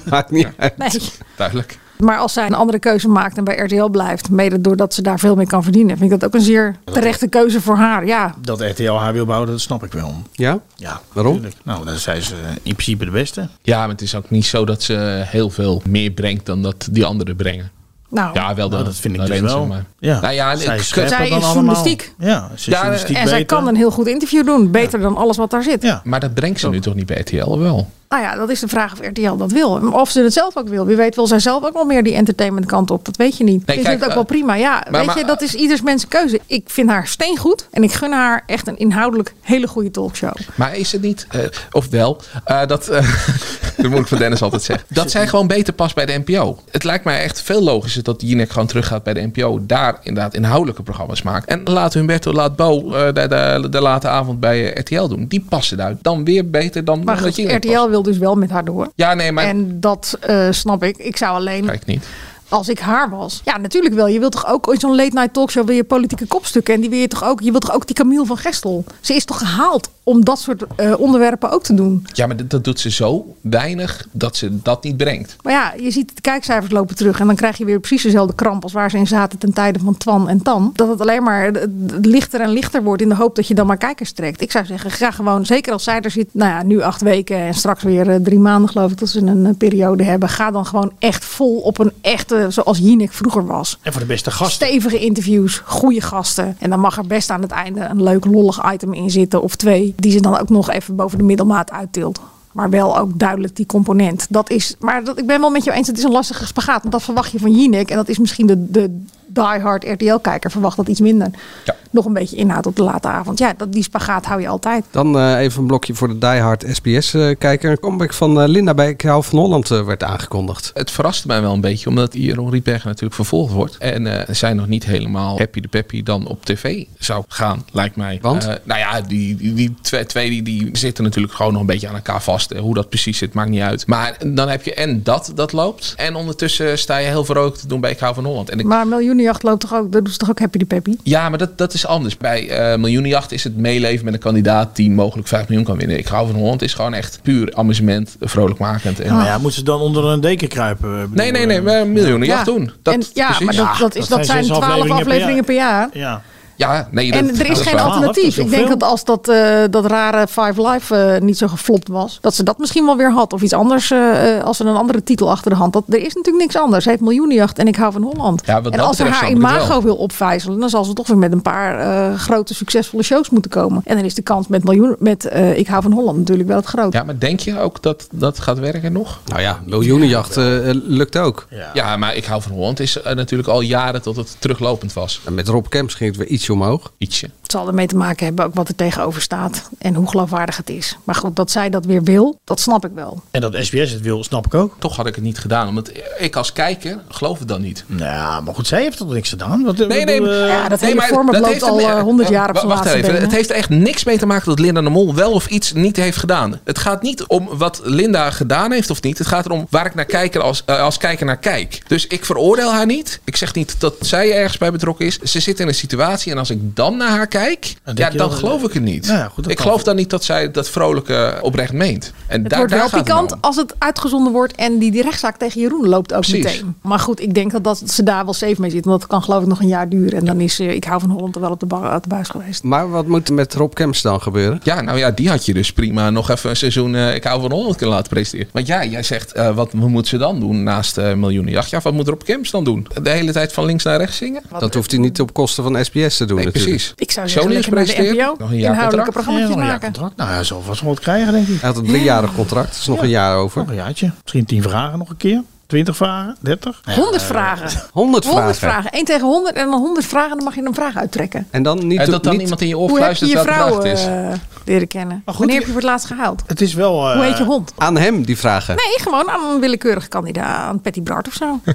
[SPEAKER 1] Maakt niet uit.
[SPEAKER 4] Nee.
[SPEAKER 3] Duidelijk.
[SPEAKER 4] Maar als zij een andere keuze maakt en bij RTL blijft, mede doordat ze daar veel meer kan verdienen, vind ik dat ook een zeer terechte keuze voor haar. Ja,
[SPEAKER 9] Dat RTL haar wil bouwen, dat snap ik wel.
[SPEAKER 1] Ja?
[SPEAKER 9] Ja.
[SPEAKER 1] Waarom?
[SPEAKER 9] tuurlijk. Nou, dan zijn ze eh, in principe de beste.
[SPEAKER 3] Ja, maar het is ook niet zo dat ze heel veel meer brengt dan dat die anderen brengen.
[SPEAKER 4] nou.
[SPEAKER 3] ja, wel
[SPEAKER 9] Nou,
[SPEAKER 3] de-
[SPEAKER 9] dat vind ik
[SPEAKER 3] de
[SPEAKER 9] dus
[SPEAKER 3] Renze,
[SPEAKER 9] wel.
[SPEAKER 3] maar-
[SPEAKER 9] Ja.
[SPEAKER 3] Nou ja,
[SPEAKER 9] Zij
[SPEAKER 3] ik-
[SPEAKER 9] is scherper
[SPEAKER 4] Zij
[SPEAKER 9] dan
[SPEAKER 4] is
[SPEAKER 9] allemaal.
[SPEAKER 4] journaliek.
[SPEAKER 9] Ja, ze is
[SPEAKER 3] Ja,
[SPEAKER 9] journaliek
[SPEAKER 4] En zij
[SPEAKER 9] beter.
[SPEAKER 4] kan een heel goed interview doen. Beter dan alles wat daar zit.
[SPEAKER 9] Ja.
[SPEAKER 3] Maar dat brengt ze nu toch niet bij RTL wel?
[SPEAKER 4] Nou ja, dat is de vraag of RTL dat wil. Of ze het zelf ook wil. Wie weet wil zij zelf ook wel meer die entertainment kant op. Dat weet je niet.
[SPEAKER 3] Nee,
[SPEAKER 4] ik
[SPEAKER 3] kijk,
[SPEAKER 4] vind het ook
[SPEAKER 3] eh,
[SPEAKER 4] wel prima. Ja,
[SPEAKER 3] maar-
[SPEAKER 4] weet
[SPEAKER 3] maar-
[SPEAKER 4] je, dat is ieders mensen keuze. Ik vind haar steengoed. En ik gun haar echt een inhoudelijk hele goede talkshow.
[SPEAKER 3] Maar is het niet, eh, of wel, eh, dat, eh, dat moet ik van Dennis altijd zeggen, dat zij gewoon beter past bij de NPO. Het lijkt mij echt veel logischer dat Jinek gewoon teruggaat bij de NPO, daar inderdaad inhoudelijke programma's maakt. En laat Humberto, laat Bo eh, de, de, de late avond bij eh, RTL doen. Die passen daar dan weer beter dan
[SPEAKER 4] Maar
[SPEAKER 3] dan dat
[SPEAKER 4] goed,
[SPEAKER 3] Jinek
[SPEAKER 4] RTL
[SPEAKER 3] past.
[SPEAKER 4] wil dus wel met haar door.
[SPEAKER 3] Ja, nee, maar
[SPEAKER 4] En dat eh, snap ik. Ik zou alleen,
[SPEAKER 3] kijk niet.
[SPEAKER 4] als ik haar was... Ja, natuurlijk wel. Je wilt toch ook in zo'n late night talkshow... wil je politieke kopstukken. En die wil je toch ook... Je wilt toch ook die Camille van Gestel. Ze is toch gehaald om dat soort eh, onderwerpen ook te doen.
[SPEAKER 3] Ja, maar dat, dat doet ze zo weinig dat ze dat niet brengt.
[SPEAKER 4] Maar ja, je ziet de kijkcijfers lopen terug. En dan krijg je weer precies dezelfde kramp als waar ze in zaten ten tijde van Twan en Tan. Dat het alleen maar eh, lichter en lichter wordt in de hoop dat je dan maar kijkers trekt. Ik zou zeggen, ga gewoon, zeker als zij er zit, nou ja, nu acht weken en straks weer eh, drie maanden geloof ik dat ze een eh, periode hebben. Ga dan gewoon echt vol op een echte, zoals Jinek vroeger was.
[SPEAKER 9] En voor de beste gasten.
[SPEAKER 4] Stevige interviews, goede gasten. En dan mag er best aan het einde een leuk lollig item in zitten of twee. Die ze dan ook nog even boven de middelmaat uittilt. Maar wel ook duidelijk die component. Dat is, maar dat, ik ben wel met jou eens, het is een lastige spagaat. Want dat verwacht je van Jinek. En dat is misschien de, de diehard RTL-kijker verwacht dat iets minder.
[SPEAKER 3] Ja.
[SPEAKER 4] Nog een beetje inhoud op de late avond. Ja, dat, die spagaat hou je altijd.
[SPEAKER 1] Dan eh, even een blokje voor de diehard SBS-kijker. Een comeback van eh, Linda bij Ik hou van Holland eh, werd aangekondigd.
[SPEAKER 3] Het verraste mij wel een beetje, omdat Jeroen Rietberg natuurlijk vervolgd wordt. En eh, zij nog niet helemaal happy de peppy dan op tv zou gaan, lijkt mij.
[SPEAKER 1] Want?
[SPEAKER 3] Eh, nou ja, die, die, die twee, twee die, die zitten natuurlijk gewoon nog een beetje aan elkaar vast. Eh, Hoe dat precies zit, maakt niet uit. Maar dan heb je en dat, dat loopt. En ondertussen sta je heel verrookt te doen bij Ik hou van Holland. En ik,
[SPEAKER 4] Maar Miljoenenjacht loopt toch ook, dat doet ze toch ook Happy de Peppy?
[SPEAKER 3] ja, maar dat, dat is anders. Bij eh Miljoenenjacht is het meeleven met een kandidaat die mogelijk 5 miljoen kan winnen. Ik hou van Holland is gewoon echt puur amusement, vrolijkmakend. En,
[SPEAKER 4] Oh.
[SPEAKER 9] Nou ja, moeten ze dan onder een deken kruipen? eh, bedoel,
[SPEAKER 3] Nee, nee, nee,
[SPEAKER 9] eh,
[SPEAKER 3] maar Miljoenenjacht
[SPEAKER 4] ja.
[SPEAKER 3] doen. Dat,
[SPEAKER 4] en, ja,
[SPEAKER 3] precies.
[SPEAKER 4] maar dat, dat, is,
[SPEAKER 9] dat
[SPEAKER 4] dat
[SPEAKER 9] zijn
[SPEAKER 4] zijn
[SPEAKER 9] zes
[SPEAKER 4] twaalf
[SPEAKER 9] afleveringen per
[SPEAKER 4] afleveringen per jaar.
[SPEAKER 9] Ja.
[SPEAKER 3] Ja, nee, dat,
[SPEAKER 4] En er
[SPEAKER 3] dat
[SPEAKER 4] is
[SPEAKER 3] waar.
[SPEAKER 4] geen
[SPEAKER 9] waar. Dat is
[SPEAKER 4] alternatief.
[SPEAKER 9] heel
[SPEAKER 4] Ik denk
[SPEAKER 9] veel.
[SPEAKER 4] dat als dat, eh, dat rare Five Live eh, niet zo geflopt was, dat ze dat misschien wel weer had. Of iets anders, eh, eh, als ze een andere titel achter de hand had. Er is natuurlijk niks anders. Ze heeft miljoenenjacht en ik hou van Holland.
[SPEAKER 3] Ja, wat
[SPEAKER 4] en
[SPEAKER 3] dat
[SPEAKER 4] als ze
[SPEAKER 3] betreft
[SPEAKER 4] haar
[SPEAKER 3] snap ik het
[SPEAKER 4] imago
[SPEAKER 3] wel.
[SPEAKER 4] wil opvijzelen, dan zal ze toch weer met een paar eh, grote succesvolle shows moeten komen. En dan is de kans met, miljoen, met eh, ik hou van Holland natuurlijk wel het groot.
[SPEAKER 3] Ja, maar denk je ook dat dat gaat werken nog?
[SPEAKER 1] Nou ja, miljoenenjacht eh, eh, lukt ook.
[SPEAKER 3] Ja, maar ik hou van Holland is eh, natuurlijk al jaren dat het teruglopend was.
[SPEAKER 1] En met Rob Kemps ging het weer ietsje omhoog.
[SPEAKER 3] Ietsje.
[SPEAKER 4] Het zal ermee te maken hebben ook wat er tegenover staat. En hoe geloofwaardig het is. Maar goed, dat zij dat weer wil, dat snap ik wel.
[SPEAKER 9] En dat SBS het wil, snap ik ook.
[SPEAKER 3] Toch had ik het niet gedaan, omdat ik als kijker geloof het dan niet.
[SPEAKER 9] Nou, maar goed, zij heeft toch niks gedaan? Wat, wat
[SPEAKER 3] Nee, nee,
[SPEAKER 9] bedoel, eh,
[SPEAKER 4] Ja, dat
[SPEAKER 3] nee,
[SPEAKER 4] hele format loopt
[SPEAKER 3] er
[SPEAKER 4] al,
[SPEAKER 3] meer-
[SPEAKER 4] eh, 100 jaar op
[SPEAKER 3] Wa-
[SPEAKER 4] zijn
[SPEAKER 3] Wacht
[SPEAKER 4] laatste
[SPEAKER 3] even,
[SPEAKER 4] benen.
[SPEAKER 3] het heeft er echt niks mee te maken dat Linda de Mol wel of iets niet heeft gedaan. Het gaat niet om wat Linda gedaan heeft of niet. Het gaat erom waar ik naar kijker als, eh, als kijker naar kijk. Dus ik veroordeel haar niet. Ik zeg niet dat zij ergens bij betrokken is. Ze zit in een situatie en als ik dan naar haar kijk,
[SPEAKER 9] denk
[SPEAKER 3] ja,
[SPEAKER 9] je
[SPEAKER 3] dan
[SPEAKER 9] wel-
[SPEAKER 3] geloof ik het niet.
[SPEAKER 9] Nou ja, goed, dat
[SPEAKER 3] ik
[SPEAKER 9] kan.
[SPEAKER 3] geloof dan niet dat zij dat vrolijke oprecht meent. En
[SPEAKER 4] Het
[SPEAKER 3] daar,
[SPEAKER 4] wordt
[SPEAKER 3] daar
[SPEAKER 4] wel
[SPEAKER 3] gaat het
[SPEAKER 4] pikant
[SPEAKER 3] om.
[SPEAKER 4] als het uitgezonden wordt en die, die rechtszaak tegen Jeroen loopt ook
[SPEAKER 3] Precies.
[SPEAKER 4] meteen. Maar goed, ik denk dat, dat ze daar wel safe mee zit. Want dat kan geloof ik nog een jaar duren. En dan is eh, Ik hou van Holland er wel op de, ba- uit de buis geweest.
[SPEAKER 1] Maar wat moet er met Rob Kemps dan gebeuren?
[SPEAKER 3] Ja, nou ja, die had je dus prima nog even een seizoen eh, Ik hou van Holland kunnen laten presteren. Want ja, jij zegt, eh, wat moet ze dan doen naast eh miljoenenjacht? Ja, wat moet Rob Kemps dan doen? De hele tijd van links naar rechts zingen?
[SPEAKER 1] Dat hoeft hij niet op kosten van SBS te doen
[SPEAKER 3] Nee,
[SPEAKER 1] natuurlijk.
[SPEAKER 3] precies.
[SPEAKER 4] Ik zou
[SPEAKER 3] Zo
[SPEAKER 4] zeggen,
[SPEAKER 3] links
[SPEAKER 4] lekker naar de
[SPEAKER 3] presteren,
[SPEAKER 4] NPO.
[SPEAKER 3] nog een jaar
[SPEAKER 4] Inhoudelijke
[SPEAKER 3] contract.
[SPEAKER 9] ja,
[SPEAKER 4] programma's
[SPEAKER 9] nog een jaar
[SPEAKER 4] maken.
[SPEAKER 9] contract. Nou, hij zal vast wel wat krijgen, denk ik.
[SPEAKER 1] Hij had een driejarig contract, dus nog een jaar over.
[SPEAKER 9] Nog een jaartje. Misschien tien vragen nog een keer. 20 vragen? 30?
[SPEAKER 4] 100
[SPEAKER 3] eh,
[SPEAKER 4] vragen.
[SPEAKER 1] 100 vragen.
[SPEAKER 4] vragen. Eén tegen 100 en dan 100 vragen. Dan mag je een vraag uittrekken.
[SPEAKER 1] En dan niet...
[SPEAKER 3] En dat dan
[SPEAKER 1] niet-
[SPEAKER 3] iemand in je oor
[SPEAKER 4] Hoe heb je
[SPEAKER 3] fluistert
[SPEAKER 4] je
[SPEAKER 3] dat het
[SPEAKER 4] vrouw
[SPEAKER 3] acht is.
[SPEAKER 4] eh, leren kennen?
[SPEAKER 9] goed,
[SPEAKER 4] Wanneer
[SPEAKER 9] die-
[SPEAKER 4] heb je voor het laatst gehaald?
[SPEAKER 9] Het is wel... eh,
[SPEAKER 4] Hoe heet je hond?
[SPEAKER 1] Aan hem die vragen.
[SPEAKER 4] Nee, gewoon aan een willekeurig kandidaat. Aan Patty Bart of zo. ja.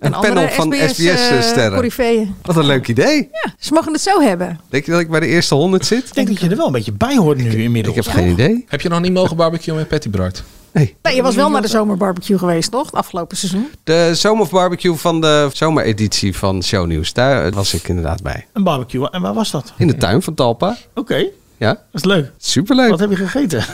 [SPEAKER 1] Een
[SPEAKER 4] andere
[SPEAKER 1] panel van
[SPEAKER 4] SBS, eh,
[SPEAKER 1] SBS-sterren.
[SPEAKER 4] coryfeeën.
[SPEAKER 1] Wat een leuk idee.
[SPEAKER 4] Ja, ze mogen het zo hebben.
[SPEAKER 1] Denk je dat ik bij de eerste 100 zit?
[SPEAKER 9] Ik denk dat je er wel een beetje bij hoort nu inmiddels.
[SPEAKER 1] Ik heb geen idee.
[SPEAKER 3] Heb je nog niet mogen barbecuen met Patty Bart?
[SPEAKER 1] Nee.
[SPEAKER 4] Nee, je was wel naar de zomerbarbecue geweest, toch? Het afgelopen seizoen.
[SPEAKER 1] De zomerbarbecue van de zomereditie van Shownieuws. Daar eh, was ik inderdaad bij.
[SPEAKER 9] Een barbecue. En waar was dat?
[SPEAKER 1] In de tuin van Talpa.
[SPEAKER 9] Oké,
[SPEAKER 1] Ja,
[SPEAKER 9] dat is leuk.
[SPEAKER 1] superleuk.
[SPEAKER 9] Wat heb je gegeten?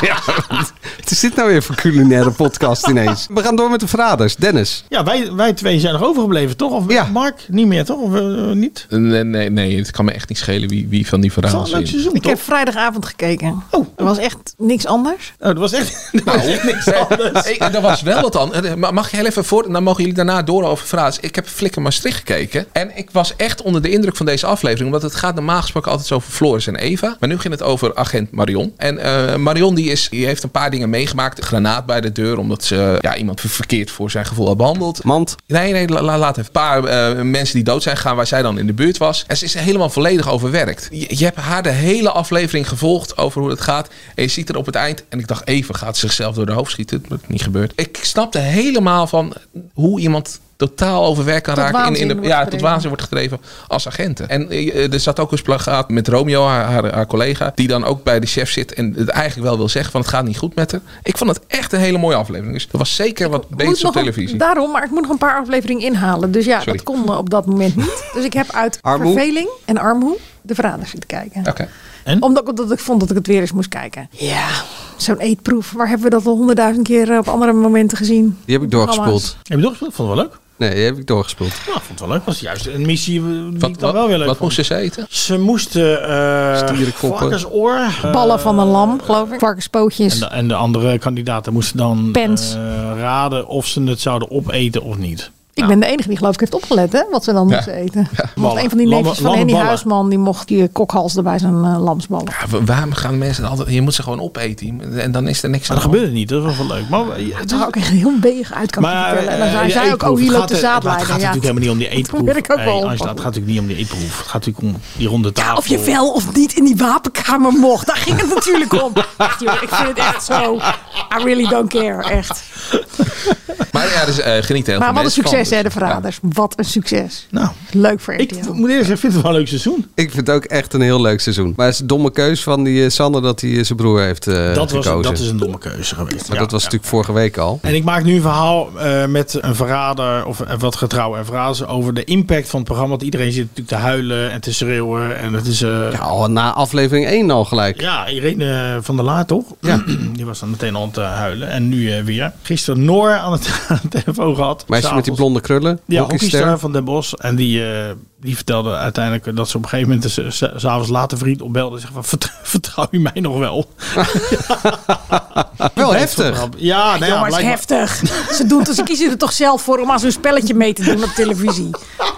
[SPEAKER 1] Ja, wat is dit nou weer voor culinaire podcast ineens? We gaan door met de verraders. Dennis.
[SPEAKER 9] ja, wij, wij twee zijn nog overgebleven, toch? Of
[SPEAKER 1] Ja.
[SPEAKER 9] Mark, niet meer, toch? Of eh, niet?
[SPEAKER 3] Nee, nee, nee, het kan me echt niet schelen wie, wie van die
[SPEAKER 9] Het was wel
[SPEAKER 3] verhalen
[SPEAKER 9] een leuk
[SPEAKER 3] is.
[SPEAKER 9] seizoen,
[SPEAKER 4] Ik
[SPEAKER 9] toch?
[SPEAKER 4] heb vrijdagavond gekeken.
[SPEAKER 9] Oh.
[SPEAKER 4] Er was echt niks anders.
[SPEAKER 9] Oh, dat was echt dat
[SPEAKER 4] Nou.
[SPEAKER 9] was echt niks anders.
[SPEAKER 3] Hey, er was wel wat anders. Eh, Maar Mag je heel even voor? Dan mogen jullie daarna door over frases. Ik heb Flikker Maastricht gekeken. En ik was echt onder de indruk van deze aflevering. Want het gaat normaal gesproken altijd over Floris en Eva. Maar nu ging het over agent Marion. En eh, Marion die is, die heeft een paar dingen meegemaakt. Een granaat bij de deur. Omdat ze eh, ja, iemand ver- verkeerd voor zijn gevoel had behandeld.
[SPEAKER 1] Mand.
[SPEAKER 3] Nee, nee, la- la- laat even. Een paar eh, mensen die dood zijn gegaan waar zij dan in de buurt was. En ze is helemaal volledig overwerkt. Je, je hebt haar de hele aflevering gevolgd over hoe het gaat. En je ziet er op het eind. En ik dacht even, gaat ze zichzelf door de hoofd schieten? Dat is niet gebeurd. Ik snapte helemaal van hoe iemand totaal overwerkt kan
[SPEAKER 4] Tot
[SPEAKER 3] raken. In, in de,
[SPEAKER 4] waanzin wordt
[SPEAKER 3] ja, tot
[SPEAKER 4] gedreven.
[SPEAKER 3] waanzin wordt gedreven als agenten. En eh, er zat ook een plagaat met Romeo, haar, haar, haar collega. Die dan ook bij de chef zit en het eigenlijk wel wil zeggen van het gaat niet goed met haar. Ik vond het echt een hele mooie aflevering. Dus er was zeker wat
[SPEAKER 4] Moet
[SPEAKER 3] beters op
[SPEAKER 4] nog een-
[SPEAKER 3] televisie.
[SPEAKER 4] daarom, maar ik moet nog een paar afleveringen inhalen. Dus ja,
[SPEAKER 3] Sorry.
[SPEAKER 4] dat kon eh, op dat moment niet. Dus ik heb uit
[SPEAKER 1] Armoe.
[SPEAKER 4] verveling en armoe de verraders zitten kijken.
[SPEAKER 3] Oké.
[SPEAKER 4] Omdat, ik- omdat ik vond dat ik het weer eens moest kijken. Ja, zo'n eetproef. Waar hebben we dat al honderdduizend keer eh, op andere momenten gezien?
[SPEAKER 1] Die heb ik doorgespoeld.
[SPEAKER 9] Heb je doorgespeeld? Vond het wel leuk.
[SPEAKER 1] Nee, die heb ik doorgespoeld.
[SPEAKER 9] Ja, vond het wel leuk. was juist een missie eh, die
[SPEAKER 3] Wat,
[SPEAKER 9] ik
[SPEAKER 3] wat,
[SPEAKER 9] dan wel weer leuk
[SPEAKER 3] wat
[SPEAKER 9] vond.
[SPEAKER 3] moesten ze eten?
[SPEAKER 9] Ze moesten eh
[SPEAKER 1] Stierenkoppen.
[SPEAKER 9] varkensoor. eh,
[SPEAKER 4] Ballen van een lam, geloof ik.
[SPEAKER 9] en,
[SPEAKER 4] Varkenspootjes.
[SPEAKER 9] de, en de andere kandidaten moesten dan
[SPEAKER 4] Pens.
[SPEAKER 9] eh, raden of ze het zouden opeten of niet.
[SPEAKER 4] Ik ben de enige die geloof ik heeft opgelet, hè? Wat we dan moesten eten. Want
[SPEAKER 9] Ballen.
[SPEAKER 4] een van die
[SPEAKER 9] Lamme-
[SPEAKER 4] neefjes van
[SPEAKER 9] lamme
[SPEAKER 4] Henny
[SPEAKER 9] ballen.
[SPEAKER 4] Huisman, die mocht die kokhals erbij zijn eh, lamsballen.
[SPEAKER 3] Ja, wa- waarom gaan mensen altijd... Je moet ze gewoon opeten. En dan is er niks aan
[SPEAKER 9] Maar
[SPEAKER 4] Oh.
[SPEAKER 9] dat gebeurde niet, dat was wel leuk. Maar, eh,
[SPEAKER 4] Het zag ook echt heel beeg uit, kan ik je vertellen. En dan zei zij ook, oh, hier loopt de
[SPEAKER 9] Het gaat
[SPEAKER 4] zaadleider. Ja.
[SPEAKER 9] natuurlijk helemaal niet om die eetproef.
[SPEAKER 4] probeer ik ook wel.
[SPEAKER 9] Hey, Angela, het gaat natuurlijk niet om die eetproef. Het gaat natuurlijk om die ronde tafel.
[SPEAKER 4] Of je wel of niet in die wapenkamer mocht. Daar ging het natuurlijk om. Echt, joh, ik vind het echt zo. I really don't care, echt.
[SPEAKER 3] Maar ja, dus, eh geniet er heel veel
[SPEAKER 4] Maar wat een
[SPEAKER 3] mensen van.
[SPEAKER 4] succes, hè, de
[SPEAKER 3] Dus,
[SPEAKER 4] verraders. Wat een succes.
[SPEAKER 9] Nou,
[SPEAKER 4] Leuk voor
[SPEAKER 9] ik nou
[SPEAKER 4] RTL.
[SPEAKER 9] moet eerlijk zeggen, ik vind het wel een leuk seizoen.
[SPEAKER 1] Ik vind het ook echt een heel leuk seizoen. Maar het is een domme keus van die eh, Sander dat hij eh, zijn broer heeft eh,
[SPEAKER 9] dat, was,
[SPEAKER 1] gekozen.
[SPEAKER 9] dat is een domme keuze geweest.
[SPEAKER 1] Maar
[SPEAKER 9] Ja,
[SPEAKER 1] dat was
[SPEAKER 9] ja.
[SPEAKER 1] natuurlijk vorige week al.
[SPEAKER 9] En ik maak nu een verhaal eh, met een verrader, of eh, wat getrouwe en verraders, over de impact van het programma. Want iedereen zit natuurlijk te huilen en te schreeuwen. En het is... eh,
[SPEAKER 1] Ja,
[SPEAKER 9] ja.
[SPEAKER 1] al na aflevering 1 al gelijk.
[SPEAKER 9] Irene eh, van der Laar, toch?
[SPEAKER 1] Ja.
[SPEAKER 9] Die was dan meteen al aan het eh, huilen. En nu eh, weer. Gisteren Noor aan het aan de telefoon gehad.
[SPEAKER 1] Meisje met die
[SPEAKER 9] S'avonds.
[SPEAKER 1] blonde krullen.
[SPEAKER 9] Ja,
[SPEAKER 1] hockeyster.
[SPEAKER 9] hockeyster van Den Bosch. En die, eh, die vertelde uiteindelijk dat ze op een gegeven moment... ze- ze- s'avonds laat een vriend opbelde en zegt van... "Vert- Vertrouw je mij nog wel?
[SPEAKER 1] Ah, Wel heftig.
[SPEAKER 9] Ja, nou ja,
[SPEAKER 4] Ja, maar het is
[SPEAKER 9] blijkbaar-
[SPEAKER 4] heftig. Ze, doen, het- ze kiezen er toch zelf voor om aan zo'n spelletje mee te doen op televisie.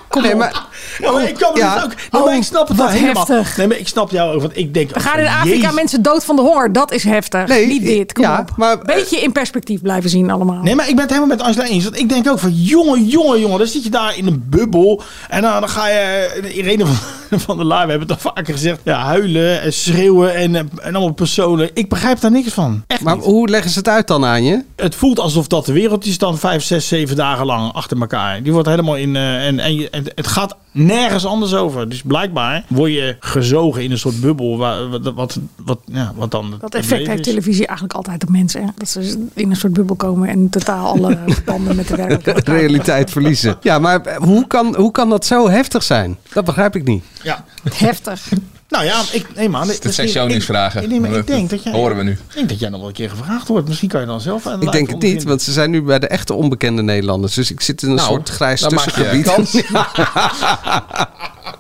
[SPEAKER 4] Kom
[SPEAKER 1] Nee,
[SPEAKER 4] op.
[SPEAKER 1] maar
[SPEAKER 9] Ja, maar ik kan me
[SPEAKER 1] Ja.
[SPEAKER 9] dat ook. Nee, maar ik snap het
[SPEAKER 4] Oh, wat
[SPEAKER 9] wel helemaal.
[SPEAKER 4] heftig.
[SPEAKER 9] Nee, maar ik snap jou ook. Want ik denk.
[SPEAKER 4] We gaan
[SPEAKER 9] oh,
[SPEAKER 4] in Afrika
[SPEAKER 9] jezus.
[SPEAKER 4] mensen dood van de honger. Dat is heftig.
[SPEAKER 1] Nee,
[SPEAKER 4] Niet dit. Kom
[SPEAKER 1] ja,
[SPEAKER 4] op.
[SPEAKER 1] maar, eh,
[SPEAKER 4] Beetje in perspectief blijven zien allemaal.
[SPEAKER 9] Nee, maar ik ben het helemaal met Angela eens. Want ik denk ook van, jongen, jongen, jongen. Dan zit je daar in een bubbel. En dan, dan ga je, eh, Irene van, van der Laar, we hebben het al vaker gezegd. Ja, huilen en schreeuwen en, eh, en allemaal personen. Ik begrijp daar niks van. Echt
[SPEAKER 1] Maar
[SPEAKER 9] niet.
[SPEAKER 1] hoe leggen ze het uit dan aan je?
[SPEAKER 9] Het voelt alsof dat de wereld is dan vijf, zes, zeven dagen lang achter elkaar. Die wordt helemaal in... eh, en, en, je- en het gaat nergens anders over. Dus blijkbaar word je gezogen in een soort bubbel. Waar, wat, wat, wat, ja, wat dan...
[SPEAKER 4] Dat
[SPEAKER 9] het
[SPEAKER 4] effect
[SPEAKER 9] leven
[SPEAKER 4] heeft
[SPEAKER 9] is.
[SPEAKER 4] televisie eigenlijk altijd op mensen. Hè? Dat ze in een soort bubbel komen en totaal alle verbanden met de werkelijkheid.
[SPEAKER 1] Realiteit verliezen. Ja, maar eh, hoe kan, hoe kan dat zo heftig zijn? Dat begrijp ik niet.
[SPEAKER 9] Ja.
[SPEAKER 4] Heftig.
[SPEAKER 9] Nou ja, ik neem aan.
[SPEAKER 3] Dat zijn jouw nieuwsvragen.
[SPEAKER 9] Ik, nee, maar ik denk dat jij.
[SPEAKER 3] Horen we nu.
[SPEAKER 9] Ik denk dat jij nog wel een keer gevraagd wordt. Misschien kan je dan zelf. aan de
[SPEAKER 1] Ik
[SPEAKER 9] live
[SPEAKER 1] denk het niet,
[SPEAKER 9] ondervinden.
[SPEAKER 1] want ze zijn nu bij de echte onbekende Nederlanders. Dus ik zit in een
[SPEAKER 3] Nou,
[SPEAKER 1] soort grijs
[SPEAKER 3] dan maak je
[SPEAKER 1] tussengebied.
[SPEAKER 3] kans.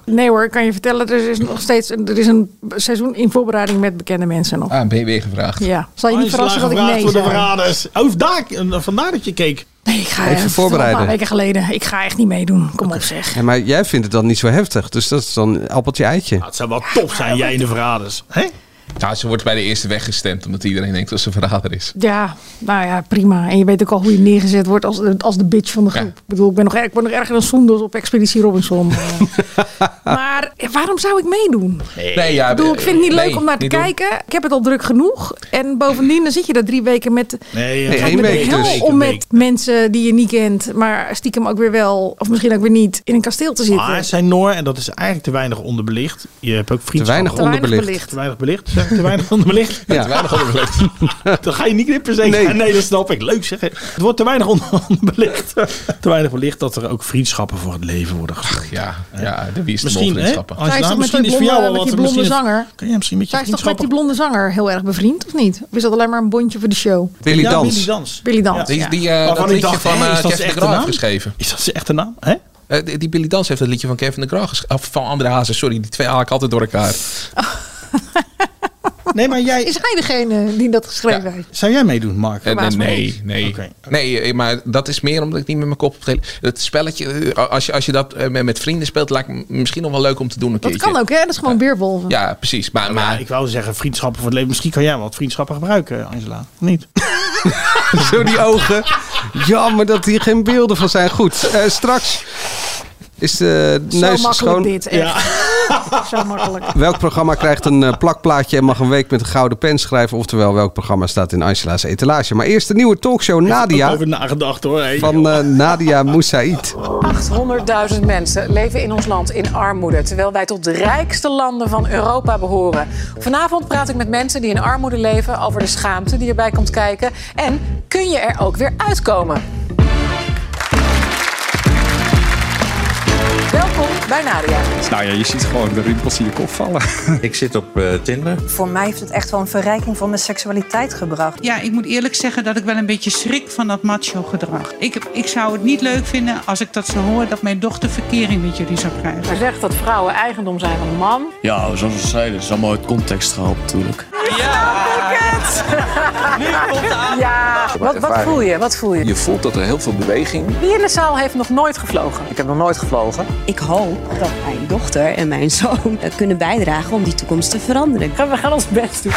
[SPEAKER 4] Nee hoor, ik kan je vertellen, er is nog steeds een, er is een seizoen in voorbereiding met bekende mensen nog.
[SPEAKER 3] Ah, ben je weer gevraagd.
[SPEAKER 4] Ja, zal je niet
[SPEAKER 9] Angela
[SPEAKER 4] verrassen dat ik
[SPEAKER 9] gevraagd
[SPEAKER 4] nee
[SPEAKER 9] voor de
[SPEAKER 4] zeg.
[SPEAKER 9] verraders. Oh, daar, eh, vandaar dat je keek.
[SPEAKER 4] Nee, ik ga
[SPEAKER 1] Even
[SPEAKER 4] echt-
[SPEAKER 1] voorbereiden.
[SPEAKER 4] Een paar weken geleden. Ik ga echt niet meedoen. Kom op zeg.
[SPEAKER 1] Ja, maar jij vindt het dan niet zo heftig. Dus dat is dan appeltje-eitje.
[SPEAKER 9] Nou, het zou wel tof zijn, jij in de verraders. Hè?
[SPEAKER 3] Ja, ze wordt bij de eerste weggestemd omdat iedereen denkt dat ze verrader is.
[SPEAKER 4] Ja, nou ja, prima. En je weet ook al hoe je neergezet wordt als, als de bitch van de groep. Ik bedoel, ik ben nog, er- ik ben nog erger dan Soenders op Expeditie Robinson. Eh, maar waarom zou ik meedoen?
[SPEAKER 3] Nee, ja,
[SPEAKER 4] ik bedoel, ik vind het niet
[SPEAKER 3] nee,
[SPEAKER 4] leuk om naar te
[SPEAKER 3] niet doen.
[SPEAKER 4] kijken. Ik heb het al druk genoeg. En bovendien, dan zit je daar drie weken met...
[SPEAKER 9] Nee,
[SPEAKER 4] Het gaat
[SPEAKER 1] één
[SPEAKER 4] met
[SPEAKER 1] week
[SPEAKER 4] de hel
[SPEAKER 1] dus.
[SPEAKER 4] om met mensen die je niet kent, maar stiekem ook weer wel, of misschien ook weer niet, in een kasteel te zitten.
[SPEAKER 9] Maar zijn Ah, Noor, en dat is eigenlijk te weinig onderbelicht. Je hebt ook vrienden.
[SPEAKER 1] weinig
[SPEAKER 4] Te weinig
[SPEAKER 1] onderbelicht.
[SPEAKER 4] belicht.
[SPEAKER 9] Te weinig belicht. Zeg ik te weinig onderbelicht?
[SPEAKER 1] Ja.
[SPEAKER 3] Te weinig onderlegd.
[SPEAKER 9] Dan ga je niet knippen zeker?
[SPEAKER 1] Nee.
[SPEAKER 9] Nee. dat snap ik. Leuk zeg. Het wordt te weinig onder- onderbelicht. te weinig belicht dat er ook vriendschappen voor het leven worden gevoerd.
[SPEAKER 3] Ja, ja, de wie is de
[SPEAKER 9] Misschien, hè?
[SPEAKER 3] molvriendschappen.
[SPEAKER 9] Angela,
[SPEAKER 4] Zij is toch met
[SPEAKER 9] misschien
[SPEAKER 4] die
[SPEAKER 9] is voor jou
[SPEAKER 4] blonde,
[SPEAKER 9] wel
[SPEAKER 4] met
[SPEAKER 9] wat.
[SPEAKER 4] die blonde
[SPEAKER 9] misschien-
[SPEAKER 4] zanger.
[SPEAKER 9] Kun jij misschien met je
[SPEAKER 4] Zij is toch met
[SPEAKER 9] vriendschappen...
[SPEAKER 4] die blonde zanger heel erg bevriend, of niet? Of is dat alleen maar een bondje voor de show?
[SPEAKER 1] Willy
[SPEAKER 9] Ja,
[SPEAKER 1] Dans.
[SPEAKER 9] Willy Dans.
[SPEAKER 4] Billy Dans.
[SPEAKER 3] Die,
[SPEAKER 4] ja.
[SPEAKER 3] die, eh,
[SPEAKER 9] Waarvan
[SPEAKER 3] dat
[SPEAKER 9] ik
[SPEAKER 3] liedje
[SPEAKER 9] dacht,
[SPEAKER 3] van
[SPEAKER 9] hé,
[SPEAKER 3] eh,
[SPEAKER 9] is dat zijn
[SPEAKER 3] Kevin de
[SPEAKER 9] echte
[SPEAKER 3] Graaf
[SPEAKER 9] naam?
[SPEAKER 3] geschreven.
[SPEAKER 9] Is dat zijn echte naam? Hè?
[SPEAKER 3] Eh, die die Billy Dans heeft dat liedje van Kevin de Graaf geschreven. Of van André Hazes, sorry. Die twee haal ik altijd door elkaar.
[SPEAKER 9] Nee, maar jij...
[SPEAKER 4] Is hij degene die dat geschreven
[SPEAKER 3] Ja.
[SPEAKER 4] heeft?
[SPEAKER 9] Zou jij meedoen,
[SPEAKER 3] Eh,
[SPEAKER 9] Mark?
[SPEAKER 3] nee,
[SPEAKER 4] Verbaas me
[SPEAKER 3] nee,
[SPEAKER 4] niet.
[SPEAKER 3] nee.
[SPEAKER 9] Oké.
[SPEAKER 3] Nee, eh, maar dat is meer omdat ik niet met mijn kop op het hele... Het spelletje, eh, als je, als je dat eh, met met vrienden speelt, lijkt me misschien nog wel leuk om te doen een
[SPEAKER 4] Dat
[SPEAKER 3] keertje.
[SPEAKER 4] kan ook, hè? Dat is gewoon weerwolven.
[SPEAKER 3] Ja, precies. Maar,
[SPEAKER 9] Maar
[SPEAKER 3] maar
[SPEAKER 9] ik wou zeggen, vriendschappen voor het leven. Misschien kan jij wat vriendschappen gebruiken, Angela. Of Niet?
[SPEAKER 1] Zo die ogen. Jammer dat hier geen beelden van zijn. Goed, eh, straks is de
[SPEAKER 4] Zo
[SPEAKER 1] neus
[SPEAKER 4] makkelijk
[SPEAKER 1] schoon.
[SPEAKER 4] dit, echt. Zo makkelijk.
[SPEAKER 1] Welk programma krijgt een eh, plakplaatje en mag een week met een gouden pen schrijven? Oftewel, welk programma staat in Angela's etalage? Maar eerst de nieuwe talkshow Nadia
[SPEAKER 9] Over nagedacht hoor. Hey,
[SPEAKER 1] van eh, Nadia Moussaïd.
[SPEAKER 11] 800.000 mensen leven in ons land in armoede, terwijl wij tot de rijkste landen van Europa behoren. Vanavond praat ik met mensen die in armoede leven over de schaamte die erbij komt kijken en kun je er ook weer uitkomen. Welkom bij Nadia.
[SPEAKER 12] Nou ja, je ziet gewoon de rimpels in je kop vallen.
[SPEAKER 10] Ik zit op eh, Tinder.
[SPEAKER 6] Voor mij heeft het echt wel een verrijking van mijn seksualiteit gebracht.
[SPEAKER 13] Ja, ik moet eerlijk zeggen dat ik wel een beetje schrik van dat macho gedrag. Ik, ik zou het niet leuk vinden als ik dat zou horen dat mijn dochter verkering met jullie zou krijgen.
[SPEAKER 11] Hij zegt dat vrouwen eigendom zijn van een man.
[SPEAKER 12] Ja, zoals we zeiden, het is allemaal uit context gehaald natuurlijk.
[SPEAKER 11] Ja, wat, wat voel je? Wat voel je?
[SPEAKER 12] Je voelt dat er heel veel beweging.
[SPEAKER 11] Wie in de zaal heeft nog nooit gevlogen?
[SPEAKER 14] Ik heb nog nooit gevlogen. Ik hoop dat mijn dochter en mijn zoon eh, kunnen bijdragen om die toekomst te veranderen.
[SPEAKER 11] We gaan ons best doen.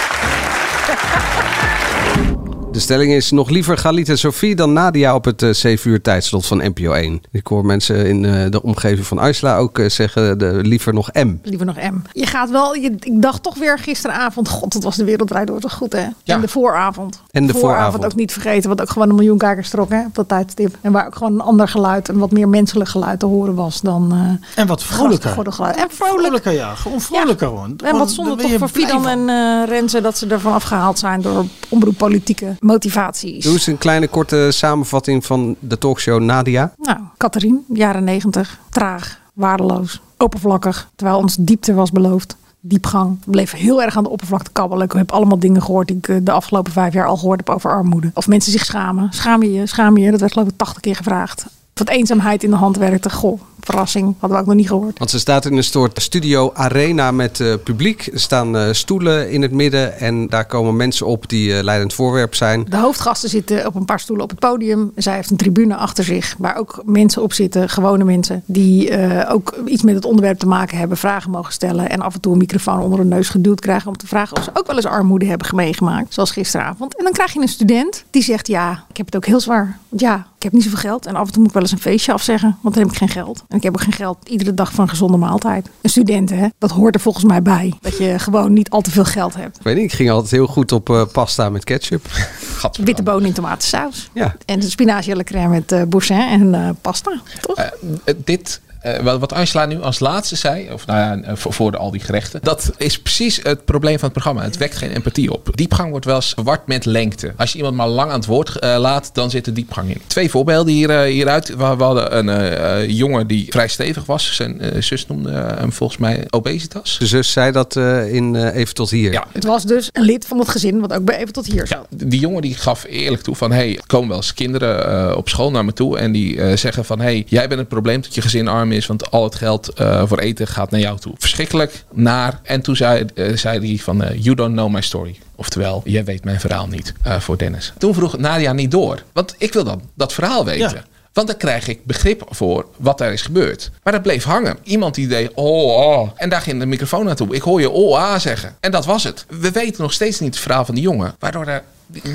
[SPEAKER 1] De stelling is nog liever Galit en Sophie dan Nadia op het eh, 7 uur tijdslot van NPO 1. Ik hoor mensen in eh, de omgeving van Angela ook eh, zeggen de, liever nog M.
[SPEAKER 4] Liever nog M. Je gaat wel, je, ik dacht toch weer gisteravond, god, dat was de wereldrijd door toch goed, hè? En de vooravond.
[SPEAKER 1] En de vooravond.
[SPEAKER 4] ook niet vergeten, wat ook gewoon een miljoen kijkers trok, hè, op dat tijdstip. En waar ook gewoon een ander geluid, een wat meer menselijk geluid te horen was dan... eh,
[SPEAKER 9] En wat vrolijker.
[SPEAKER 4] grachtengordelgeluid.
[SPEAKER 1] eh,
[SPEAKER 4] En vrolijk.
[SPEAKER 9] Vrolijker, ja. Gewoon vrolijker, hoor.
[SPEAKER 4] En
[SPEAKER 9] Gewoon,
[SPEAKER 4] wat
[SPEAKER 9] daar
[SPEAKER 4] zonde
[SPEAKER 9] ben
[SPEAKER 4] toch
[SPEAKER 9] je
[SPEAKER 4] voor
[SPEAKER 9] blij
[SPEAKER 4] Fidan
[SPEAKER 9] van.
[SPEAKER 4] en eh Renze dat ze ervan afgehaald zijn door omroeppolitieke motivaties.
[SPEAKER 1] Doe eens een kleine korte samenvatting van de talkshow Nadia.
[SPEAKER 4] Nou, Catherine, jaren 90, traag, waardeloos, oppervlakkig, terwijl ons diepte was beloofd. Diepgang. Bleef heel erg aan de oppervlakte kabbelen. Ik heb allemaal dingen gehoord die ik eh, de afgelopen vijf jaar al gehoord heb over armoede. Of mensen zich schamen. Schaam je je? Schaam je je? Dat werd geloof ik tachtig keer gevraagd. Wat eenzaamheid in de hand werkte. Goh, verrassing. Hadden we ook nog niet gehoord.
[SPEAKER 1] Want ze staat in een soort studio arena met eh, publiek. Er staan eh, stoelen in het midden en daar komen mensen op die eh, leidend voorwerp zijn.
[SPEAKER 4] De hoofdgasten zitten op een paar stoelen op het podium. Zij heeft een tribune achter zich waar ook mensen op zitten, gewone mensen, die eh, ook iets met het onderwerp te maken hebben, vragen mogen stellen en af en toe een microfoon onder hun neus geduwd krijgen om te vragen of ze ook wel eens armoede hebben meegemaakt, zoals gisteravond. En dan krijg je een student die zegt, ja, ik heb het ook heel zwaar. Want Ja, ik heb niet zoveel geld en af en toe moet ik wel eens een feestje afzeggen, want dan heb ik geen geld. En ik heb ook geen geld iedere dag van een gezonde maaltijd. Een student, hè, dat hoort er volgens mij bij, dat je gewoon niet al te veel geld hebt.
[SPEAKER 1] Ik weet niet, ik ging altijd heel goed op eh, pasta met ketchup.
[SPEAKER 4] Witte bonen in tomatensaus.
[SPEAKER 1] Ja.
[SPEAKER 4] En de spinazie à la crème met eh boursin en eh, pasta. Toch?
[SPEAKER 3] Eh, dit, eh, wat wat Angela nu als laatste zei, of nou ja, eh, voor, voor de- al die gerechten, dat is precies het probleem van het programma. Het wekt geen empathie op. Diepgang wordt wel eens verward met lengte. Als je iemand maar lang aan het woord eh, laat, dan zit er diepgang in. Twee voorbeelden hier, eh, hieruit. We, we hadden een eh, eh, jongen die vrij stevig was. Zijn eh, zus noemde eh, hem volgens mij obesitas.
[SPEAKER 1] De zus zei dat eh, in eh, Even tot hier.
[SPEAKER 3] Ja,
[SPEAKER 4] het was dus een lid van het gezin, wat ook bij even tot hier zat.
[SPEAKER 3] die jongen die gaf eerlijk toe van... hey, er komen wel eens kinderen eh, op school naar me toe... en die eh, zeggen van... hey, jij bent het probleem dat je gezin arm is... want al het geld eh, voor eten gaat naar jou toe. Verschrikkelijk, naar. En toen zei eh, zei hij van... eh, you don't know my story. Oftewel, jij weet mijn verhaal niet eh, voor Dennis. Toen vroeg Nadia niet door. Want ik wil dan dat verhaal weten.
[SPEAKER 9] Ja.
[SPEAKER 3] Want dan krijg ik begrip voor wat daar is gebeurd. Maar dat bleef hangen. Iemand die deed oh, ah. En daar ging de microfoon naartoe. Ik hoor je oh, ah zeggen. En dat was het. We weten nog steeds niet het verhaal van die jongen. Waardoor er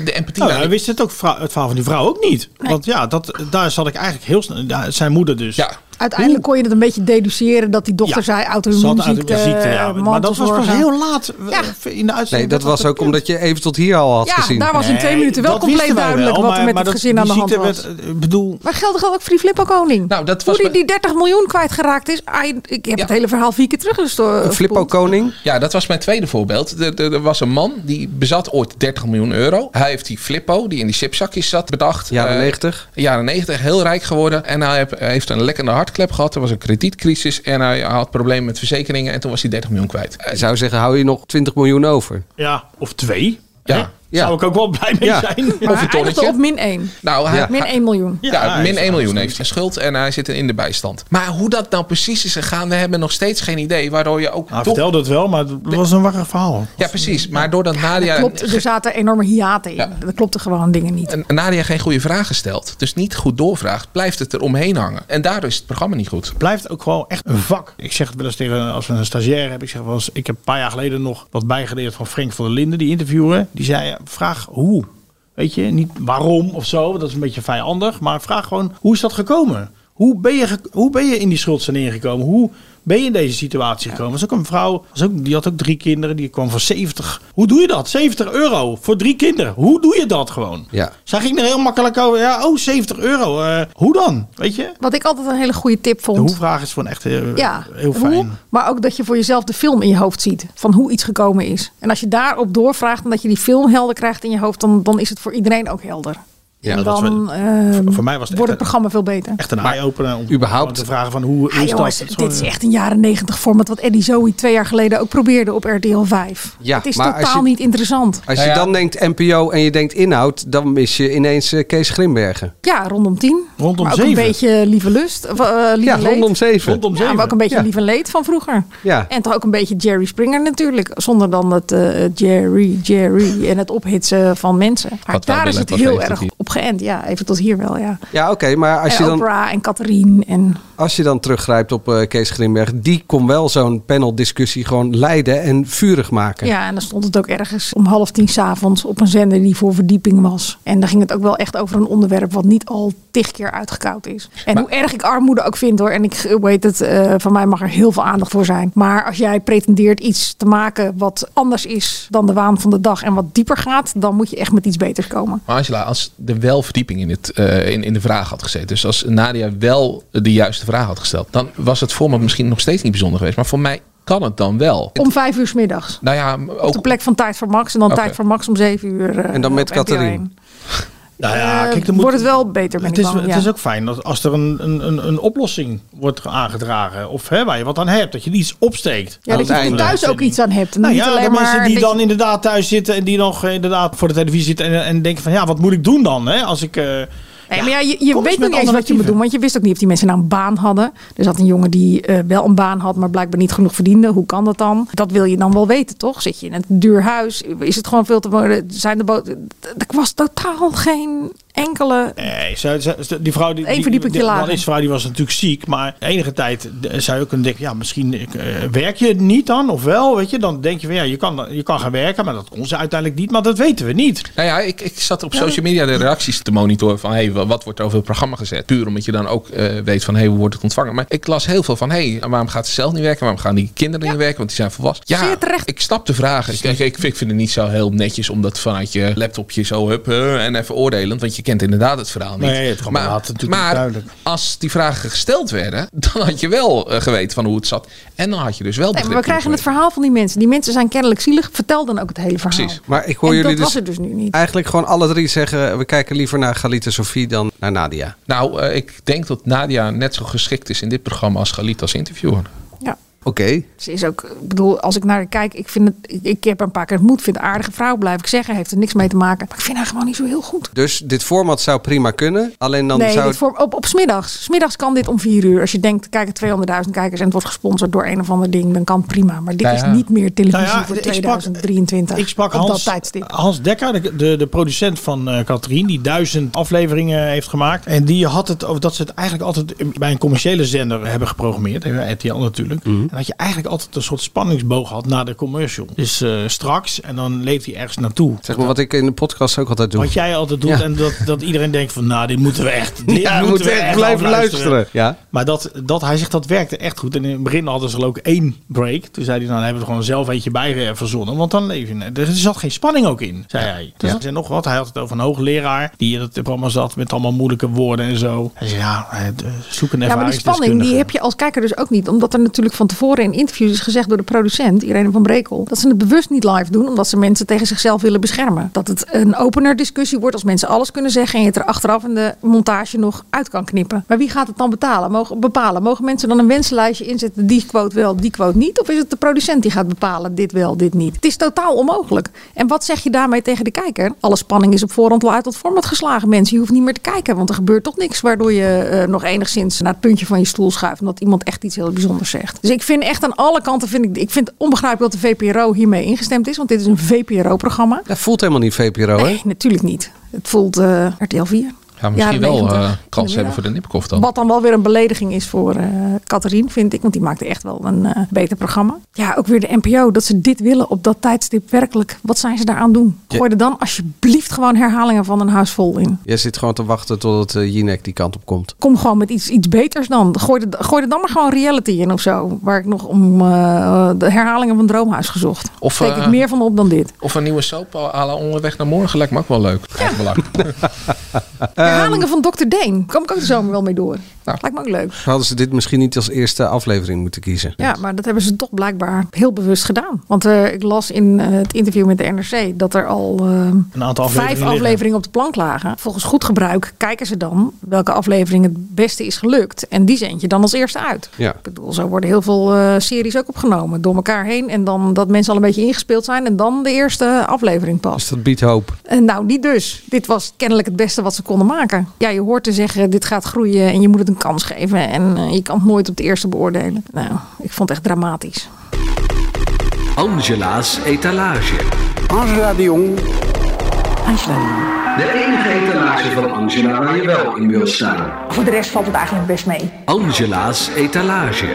[SPEAKER 3] de empathie...
[SPEAKER 9] Nou, hij wist het, ook, vrou- het verhaal van die vrouw ook niet. Want ja, dat, daar zat ik eigenlijk heel snel... ja, zijn moeder dus.
[SPEAKER 3] Ja.
[SPEAKER 4] Uiteindelijk kon je het een beetje deduceren dat die dochter
[SPEAKER 9] Ja.
[SPEAKER 4] zei
[SPEAKER 9] Ze had
[SPEAKER 4] auto-immuunziekte.
[SPEAKER 9] auto- ziekte, ja.
[SPEAKER 4] eh,
[SPEAKER 9] Maar dat was pas
[SPEAKER 4] mantelzorgen.
[SPEAKER 9] heel laat eh, in de
[SPEAKER 1] Nee,
[SPEAKER 9] uitzending.
[SPEAKER 1] dat was ook omdat je even tot hier al had
[SPEAKER 4] Ja,
[SPEAKER 1] gezien.
[SPEAKER 4] daar was in twee minuten wel
[SPEAKER 9] dat
[SPEAKER 4] compleet
[SPEAKER 9] wisten wij
[SPEAKER 4] duidelijk
[SPEAKER 9] wel,
[SPEAKER 4] wat er met
[SPEAKER 9] maar- maar
[SPEAKER 4] het
[SPEAKER 9] dat-
[SPEAKER 4] gezin aan de
[SPEAKER 9] die
[SPEAKER 4] hand
[SPEAKER 9] ziekte
[SPEAKER 4] was.
[SPEAKER 9] werd, eh, Ik bedoel,
[SPEAKER 4] Maar geldt toch ook voor die Flippo Koning?
[SPEAKER 3] Nou, dat
[SPEAKER 4] Hoe
[SPEAKER 3] was
[SPEAKER 4] die,
[SPEAKER 3] bij-
[SPEAKER 4] die 30 miljoen kwijtgeraakt is. ai, ik heb het hele verhaal vier keer dus teruggestoord.
[SPEAKER 1] Koning?
[SPEAKER 3] Ja, dat was mijn tweede voorbeeld. Er, er, er was een man die bezat ooit 30 miljoen euro. Hij heeft die Flippo, die in die chipzakjes zat, bedacht.
[SPEAKER 1] Jaren
[SPEAKER 3] Eh,
[SPEAKER 1] 90.
[SPEAKER 3] Jaren 90, heel rijk geworden. En hij heb- hij heeft een lekkende hartklep gehad. Er was een kredietcrisis en hij had problemen met verzekeringen. En toen was hij 30 miljoen kwijt. Eh,
[SPEAKER 1] Ik zou zeggen, hou je nog 20 miljoen over?
[SPEAKER 9] ja, of twee.
[SPEAKER 3] Ja.
[SPEAKER 9] Zou ik ook wel blij mee
[SPEAKER 1] Ja.
[SPEAKER 9] zijn.
[SPEAKER 4] Maar hij eindigde op min 1.
[SPEAKER 3] Nou, hij-
[SPEAKER 4] Min
[SPEAKER 3] hij-
[SPEAKER 4] 1 miljoen.
[SPEAKER 3] Ja, min 1 miljoen heeft hij schuld en hij zit in de bijstand. Maar hoe dat nou precies is gegaan, we hebben nog steeds geen idee. Waardoor je ook.
[SPEAKER 9] Hij
[SPEAKER 3] toch-
[SPEAKER 9] Nou, vertelde het wel, maar het was een warrig verhaal.
[SPEAKER 3] Ja, precies. Maar doordat Nadia.
[SPEAKER 4] Dat klopt, er zaten enorme hiaten in. Dat klopte gewoon dingen niet.
[SPEAKER 3] En Nadia geen goede vragen stelt, dus niet goed doorvraagt, blijft het er omheen hangen. En daardoor is het programma niet goed.
[SPEAKER 9] blijft ook gewoon echt een vak. Ik zeg het wel eens tegen als we een stagiair hebben. Ik zeg wel eens, ik heb een paar jaar geleden nog wat bijgeleerd van Frank van der Linden, die interviewer. Die zei, eh, vraag hoe. Weet je, niet waarom of zo, want dat is een beetje vijandig. Maar vraag gewoon, hoe is dat gekomen? Hoe ben je, ge- hoe ben je in die schuldsanering gekomen? Hoe ben je in deze situatie gekomen? Dat was ook een vrouw, was ook, die had ook drie kinderen, die kwam voor 70. Hoe doe je dat? 70 euro voor drie kinderen. Hoe doe je dat gewoon?
[SPEAKER 1] Ja.
[SPEAKER 9] Zij ging er heel makkelijk over. Ja, oh, 70 euro. eh, hoe dan? Weet je?
[SPEAKER 4] Wat ik altijd een hele goede tip
[SPEAKER 9] De
[SPEAKER 4] vond.
[SPEAKER 9] hoe-vraag is gewoon echt heel,
[SPEAKER 4] Ja,
[SPEAKER 9] Eh, heel
[SPEAKER 4] hoe,
[SPEAKER 9] fijn.
[SPEAKER 4] maar ook dat je voor jezelf de film in je hoofd ziet. Van hoe iets gekomen is. En als je daarop doorvraagt en dat je die film helder krijgt in je hoofd, dan, dan is het voor iedereen ook helder.
[SPEAKER 9] Ja,
[SPEAKER 4] en
[SPEAKER 9] dat was
[SPEAKER 4] dan
[SPEAKER 9] wel-
[SPEAKER 4] ehm,
[SPEAKER 9] voor mij was het
[SPEAKER 4] wordt het
[SPEAKER 9] echt-
[SPEAKER 4] programma veel beter.
[SPEAKER 9] Echt een eye-opener om
[SPEAKER 1] überhaupt-
[SPEAKER 9] te vragen van hoe, hoe
[SPEAKER 4] Ja,
[SPEAKER 9] is
[SPEAKER 4] Ah, jongens,
[SPEAKER 9] dat?
[SPEAKER 4] dit is echt een jaren negentig format wat Eddie Zoe twee jaar geleden ook probeerde op RTL 5.
[SPEAKER 1] Ja,
[SPEAKER 4] het is
[SPEAKER 1] maar als
[SPEAKER 4] totaal
[SPEAKER 1] je-
[SPEAKER 4] niet interessant.
[SPEAKER 3] Nou
[SPEAKER 1] Als je dan denkt NPO en je denkt inhoud, dan mis je ineens eh, Kees Grimbergen.
[SPEAKER 4] Ja, rondom tien.
[SPEAKER 1] Rondom
[SPEAKER 4] maar ook
[SPEAKER 1] zeven.
[SPEAKER 4] een beetje lieve lust. Of, eh, lieve
[SPEAKER 1] Ja,
[SPEAKER 4] leed.
[SPEAKER 1] rondom zeven. Rondom
[SPEAKER 4] Ja,
[SPEAKER 1] zeven.
[SPEAKER 4] maar ook een beetje
[SPEAKER 1] Ja.
[SPEAKER 4] lieve leed van vroeger.
[SPEAKER 1] Ja.
[SPEAKER 4] En toch ook een beetje Jerry Springer natuurlijk. Zonder dan het eh, Jerry, Jerry en het ophitsen van mensen. Maar
[SPEAKER 1] Wat wij
[SPEAKER 4] daar is
[SPEAKER 1] willen,
[SPEAKER 4] het
[SPEAKER 1] wat
[SPEAKER 4] heel
[SPEAKER 1] leeft het
[SPEAKER 4] erg
[SPEAKER 1] hier.
[SPEAKER 4] op geënt. Ja, even tot hier wel, ja.
[SPEAKER 1] Ja, oké, maar als je,
[SPEAKER 4] en
[SPEAKER 1] dan,
[SPEAKER 4] Oprah en Catherine en...
[SPEAKER 1] als je dan teruggrijpt op eh, Kees Grimberg, die kon wel zo'n paneldiscussie gewoon leiden en vurig maken.
[SPEAKER 4] Ja, en dan stond het ook ergens om half tien s'avonds op een zender die voor verdieping was. En daar ging het ook wel echt over een onderwerp wat niet al tig keer uitgekoud is. En hoe erg ik armoede ook vind hoor. En ik weet het, eh, van mij mag er heel veel aandacht voor zijn. Maar als jij pretendeert iets te maken wat anders is dan de waan van de dag en wat dieper gaat, dan moet je echt met iets beters komen.
[SPEAKER 3] Maar Angela, als er wel verdieping in, het, eh, in, in de vraag had gezeten. Dus als Nadia wel de juiste vraag had gesteld. Dan was het format misschien nog steeds niet bijzonder geweest. Maar voor mij kan het dan wel.
[SPEAKER 4] Om vijf uur 's middags.
[SPEAKER 3] Nou ja, m-
[SPEAKER 4] Op
[SPEAKER 3] ook...
[SPEAKER 4] de plek van Tijd voor Max en dan
[SPEAKER 3] Oké.
[SPEAKER 4] Tijd voor Max om zeven uur. eh,
[SPEAKER 1] Oh. En dan met
[SPEAKER 4] op NPO 1.
[SPEAKER 1] Catherine.
[SPEAKER 9] Nou ja,
[SPEAKER 4] Eh,
[SPEAKER 9] kijk, dan moet,
[SPEAKER 4] wordt het wel beter, ben
[SPEAKER 9] het,
[SPEAKER 4] ik
[SPEAKER 9] is,
[SPEAKER 4] bang,
[SPEAKER 9] het
[SPEAKER 4] ja.
[SPEAKER 9] is ook fijn dat als er een, een, een, een oplossing wordt aangedragen. Of hè, waar je wat aan hebt. Dat je iets opsteekt.
[SPEAKER 4] Ja, dat je er thuis ook iets aan hebt. En
[SPEAKER 9] Nou
[SPEAKER 4] niet
[SPEAKER 9] ja, de
[SPEAKER 4] alleen
[SPEAKER 9] mensen
[SPEAKER 4] maar
[SPEAKER 9] die
[SPEAKER 4] dat je-
[SPEAKER 9] dan inderdaad thuis zitten. En die nog eh, inderdaad voor de televisie zitten. En, en denken van ja, wat moet ik doen dan? Hè, als ik... eh,
[SPEAKER 4] Nee, maar ja, je,
[SPEAKER 9] kom
[SPEAKER 4] je weet
[SPEAKER 9] eens met
[SPEAKER 4] nog niet eens wat je moet
[SPEAKER 9] alternatieven.
[SPEAKER 4] doen. Want je wist ook niet of die mensen nou een baan hadden. Er zat een jongen die eh, wel een baan had, maar blijkbaar niet genoeg verdiende. Hoe kan dat dan? Dat wil je dan wel weten, toch? Zit je in een duur huis? Is het gewoon veel te... mo- eh, Zijn de boot... Er was totaal geen enkele...
[SPEAKER 9] Nee, ze- ze- ze- die vrouw die,
[SPEAKER 4] Eén
[SPEAKER 9] die,
[SPEAKER 4] verdieping
[SPEAKER 9] die-
[SPEAKER 4] te lager.
[SPEAKER 9] die Wallis vrouw die was natuurlijk ziek, maar enige tijd eh, zou je ook kunnen denken, ja, misschien eh, werk je niet dan of wel, weet je? Dan denk je van ja, je kan, je kan gaan werken, maar dat kon ze uiteindelijk niet, maar dat weten we niet.
[SPEAKER 3] Nou ja, ik, ik zat op social media de reacties te monitoren van hey, wa- wat wordt er over het programma gezet? Puur omdat je dan ook eh, weet van hey, hoe wordt het ontvangen? Maar ik las heel veel van hey, waarom gaat ze zelf niet werken? Waarom gaan die kinderen niet werken? Want die zijn volwassen. Ja, ik snap de vragen. Ik, ik, ik vind het niet zo heel netjes om dat vanuit je laptopje zo hup eh, en even oordelend, want je kent inderdaad het verhaal niet.
[SPEAKER 9] Nee, het programma laat het natuurlijk
[SPEAKER 3] maar
[SPEAKER 9] niet duidelijk.
[SPEAKER 3] als die vragen gesteld werden, dan had je wel eh, geweten van hoe het zat. En dan had je dus wel
[SPEAKER 4] Nee, maar we
[SPEAKER 3] begrip
[SPEAKER 4] krijgen
[SPEAKER 3] moeten
[SPEAKER 4] het verhaal van die mensen. Die mensen zijn kennelijk zielig. Vertel dan ook het hele verhaal.
[SPEAKER 1] Precies. Maar ik hoor
[SPEAKER 4] En
[SPEAKER 1] jullie
[SPEAKER 4] dat
[SPEAKER 1] dus,
[SPEAKER 4] was het dus nu niet.
[SPEAKER 1] eigenlijk gewoon alle drie zeggen, we kijken liever naar Galita Sofie dan naar Nadia.
[SPEAKER 3] Nou, eh, ik denk dat Nadia net zo geschikt is in dit programma als Galit als interviewer.
[SPEAKER 4] Ja.
[SPEAKER 1] Oké.
[SPEAKER 4] Ze is ook, ik bedoel, als ik naar haar kijk, ik, vind het, ik, ik heb haar een paar keer ontmoet, vind haar een aardige vrouw, blijf ik zeggen, heeft er niks mee te maken. Maar ik vind haar gewoon niet zo heel goed.
[SPEAKER 1] Dus dit format zou prima kunnen. Alleen dan
[SPEAKER 4] nee,
[SPEAKER 1] zou
[SPEAKER 4] dit voor, op, op smiddags. Smiddags kan dit om vier uur. Als je denkt, er kijken 200.000 kijkers en het wordt gesponsord door een of ander ding, dan kan het prima. Maar dit
[SPEAKER 9] Nou ja.
[SPEAKER 4] is niet meer televisie
[SPEAKER 9] Nou ja,
[SPEAKER 4] voor
[SPEAKER 9] ik sprak-
[SPEAKER 4] 2023.
[SPEAKER 9] Ik sprak
[SPEAKER 4] op
[SPEAKER 9] Hans,
[SPEAKER 4] dat tijdstip.
[SPEAKER 9] Hans Dekker, de, de, de producent van eh Katrien, die duizend afleveringen heeft gemaakt. En die had het over dat ze het eigenlijk altijd bij een commerciële zender hebben geprogrammeerd. eh, RTL natuurlijk. En dat je eigenlijk altijd een soort spanningsboog had na de commercial. Dus eh, straks en dan leeft hij ergens naartoe.
[SPEAKER 1] Zeg maar wat ik in de podcast ook altijd doe.
[SPEAKER 9] Wat jij altijd doet
[SPEAKER 1] Ja.
[SPEAKER 9] en dat, dat iedereen denkt van nou, dit moeten we echt. Dit
[SPEAKER 1] Ja, we
[SPEAKER 9] moeten we
[SPEAKER 1] moeten
[SPEAKER 9] echt
[SPEAKER 1] blijven
[SPEAKER 9] afluisteren.
[SPEAKER 1] luisteren. Ja.
[SPEAKER 9] Maar dat, dat, hij zegt dat werkte echt goed. En in het begin hadden ze er ook één break. Toen zei hij, nou, dan hebben we er gewoon zelf eentje bij eh, verzonnen. Want dan leef je. net. Er zat geen spanning ook in, zei hij. Dus
[SPEAKER 15] Ja.
[SPEAKER 9] er zijn nog wat. Hij had het over een hoogleraar die in het programma zat met allemaal moeilijke woorden en zo. Hij zei, ja, eh, zoek een
[SPEAKER 4] Ja, maar die spanning die heb je als kijker dus ook niet. Omdat er natuurlijk van tevoren in interviews is gezegd door de producent, Irene van Brekel, dat ze het bewust niet live doen, omdat ze mensen tegen zichzelf willen beschermen. Dat het een opener discussie wordt als mensen alles kunnen zeggen en je het er achteraf in de montage nog uit kan knippen. Maar wie gaat het dan betalen? Mogen, bepalen? Mogen mensen dan een wensenlijstje inzetten, die quote wel, die quote niet? Of is het de producent die gaat bepalen, dit wel, dit niet? Het is totaal onmogelijk. En wat zeg je daarmee tegen de kijker? Alle spanning is op voorhand wel uit het format geslagen. Mensen, je hoeft niet meer te kijken, want er gebeurt toch niks waardoor je eh, nog enigszins naar het puntje van je stoel schuift omdat iemand echt iets heel bijzonders zegt. Dus ik vind echt aan alle kanten vind ik, ik vind het onbegrijpelijk dat de VPRO hiermee ingestemd is, want dit is een VPRO-programma.
[SPEAKER 1] Dat voelt helemaal niet VPRO, hè?
[SPEAKER 4] Nee, natuurlijk niet. Het voelt eh, RTL 4.
[SPEAKER 3] Ja, misschien
[SPEAKER 4] Jaren
[SPEAKER 3] wel
[SPEAKER 4] 90.
[SPEAKER 3] eh,
[SPEAKER 4] In de
[SPEAKER 3] kans hebben voor de Nipkoff dan.
[SPEAKER 4] Wat dan wel weer een belediging is voor eh Catharine, vind ik. Want die maakte echt wel een eh, beter programma. Ja, ook weer de NPO. Dat ze dit willen op dat tijdstip. Werkelijk, wat zijn ze daaraan doen? Gooi er dan alsjeblieft gewoon herhalingen van een huis vol in.
[SPEAKER 1] Jij zit gewoon te wachten totdat eh, Jinek die kant op komt.
[SPEAKER 4] Kom gewoon met iets, iets beters dan. Gooi er, gooi er dan maar gewoon reality in of zo. Waar ik nog om eh, de herhalingen van Droomhuis gezocht.
[SPEAKER 3] Of,
[SPEAKER 4] Steek
[SPEAKER 3] eh,
[SPEAKER 4] ik meer van op dan dit.
[SPEAKER 3] Of een nieuwe soap à la onderweg naar morgen lijkt me ook wel leuk. Eigenlijk wel leuk. ehm,
[SPEAKER 4] Herhalingen van Dr. Deen. Kom ik ook de zomer wel mee door.
[SPEAKER 3] nou.
[SPEAKER 4] Lijkt me ook leuk.
[SPEAKER 1] Hadden ze dit misschien niet als eerste aflevering moeten kiezen?
[SPEAKER 4] Ja, maar dat hebben ze toch blijkbaar heel bewust gedaan. Want eh, ik las in eh, het interview met de NRC dat er al eh,
[SPEAKER 9] aantal afleveringen
[SPEAKER 4] vijf
[SPEAKER 9] liggen.
[SPEAKER 4] afleveringen op de plank lagen. Volgens goed gebruik kijken ze dan welke aflevering het beste is gelukt. En die zend je dan als eerste uit.
[SPEAKER 1] Ja.
[SPEAKER 4] Ik bedoel, zo worden heel veel eh, series ook opgenomen door elkaar heen. En dan dat mensen al een beetje ingespeeld zijn en dan de eerste aflevering pas.
[SPEAKER 1] Dus dat biedt hoop.
[SPEAKER 4] En nou, niet dus. Dit was kennelijk het beste wat ze konden maken. Ja, je hoort te zeggen, dit gaat groeien en je moet het een kans geven. En eh, je kan het nooit op de eerste beoordelen. Nou, ik vond het echt dramatisch.
[SPEAKER 16] Angela's etalage.
[SPEAKER 17] Angela de Jong.
[SPEAKER 16] Angela de Jong. De enige etalage van Angela waar je wel in wil staan.
[SPEAKER 17] Voor de rest valt het eigenlijk best mee.
[SPEAKER 16] Angela's etalage.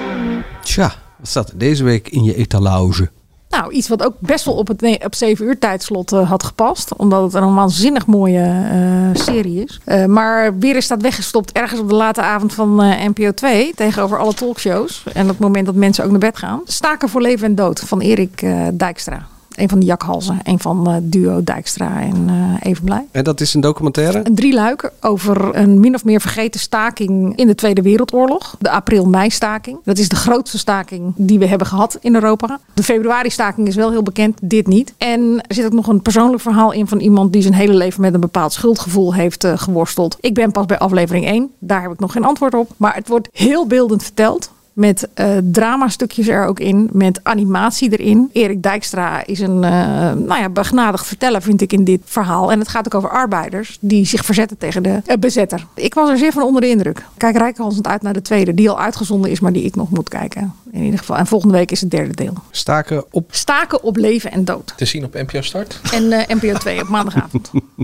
[SPEAKER 1] Tja, wat staat er deze week in je etalage?
[SPEAKER 4] Nou, iets wat ook best wel op het ne- op 7 uur tijdslot eh, had gepast. Omdat het een waanzinnig mooie eh, serie is. Eh, maar weer is dat weggestopt ergens op de late avond van eh, NPO 2. Tegenover alle talkshows. En het moment dat mensen ook naar bed gaan. Staken voor leven en dood van Erik eh, Dijkstra. Een van de jakhalzen. Een van eh, duo Dijkstra en eh Evenblij.
[SPEAKER 1] En dat is een documentaire?
[SPEAKER 4] Een drieluik over een min of meer vergeten staking in de Tweede Wereldoorlog. De april-mei-staking. Dat is de grootste staking die we hebben gehad in Europa. De februari-staking is wel heel bekend, dit niet. En er zit ook nog een persoonlijk verhaal in van iemand die zijn hele leven met een bepaald schuldgevoel heeft eh, geworsteld. Ik ben pas bij aflevering 1. Daar heb ik nog geen antwoord op. Maar het wordt heel beeldend verteld. Met eh drama-stukjes er ook in, met animatie erin. Erik Dijkstra is een eh, nou ja, begnadigd verteller, vind ik, in dit verhaal. En het gaat ook over arbeiders die zich verzetten tegen de eh, bezetter. Ik was er zeer van onder de indruk. Kijk rijkhalsend uit naar de tweede, die al uitgezonden is, maar die ik nog moet kijken. In ieder geval. En volgende week is het derde deel.
[SPEAKER 1] Staken op.
[SPEAKER 4] Staken op leven en dood.
[SPEAKER 3] Te zien op NPO Start.
[SPEAKER 4] En eh, NPO 2 op maandagavond.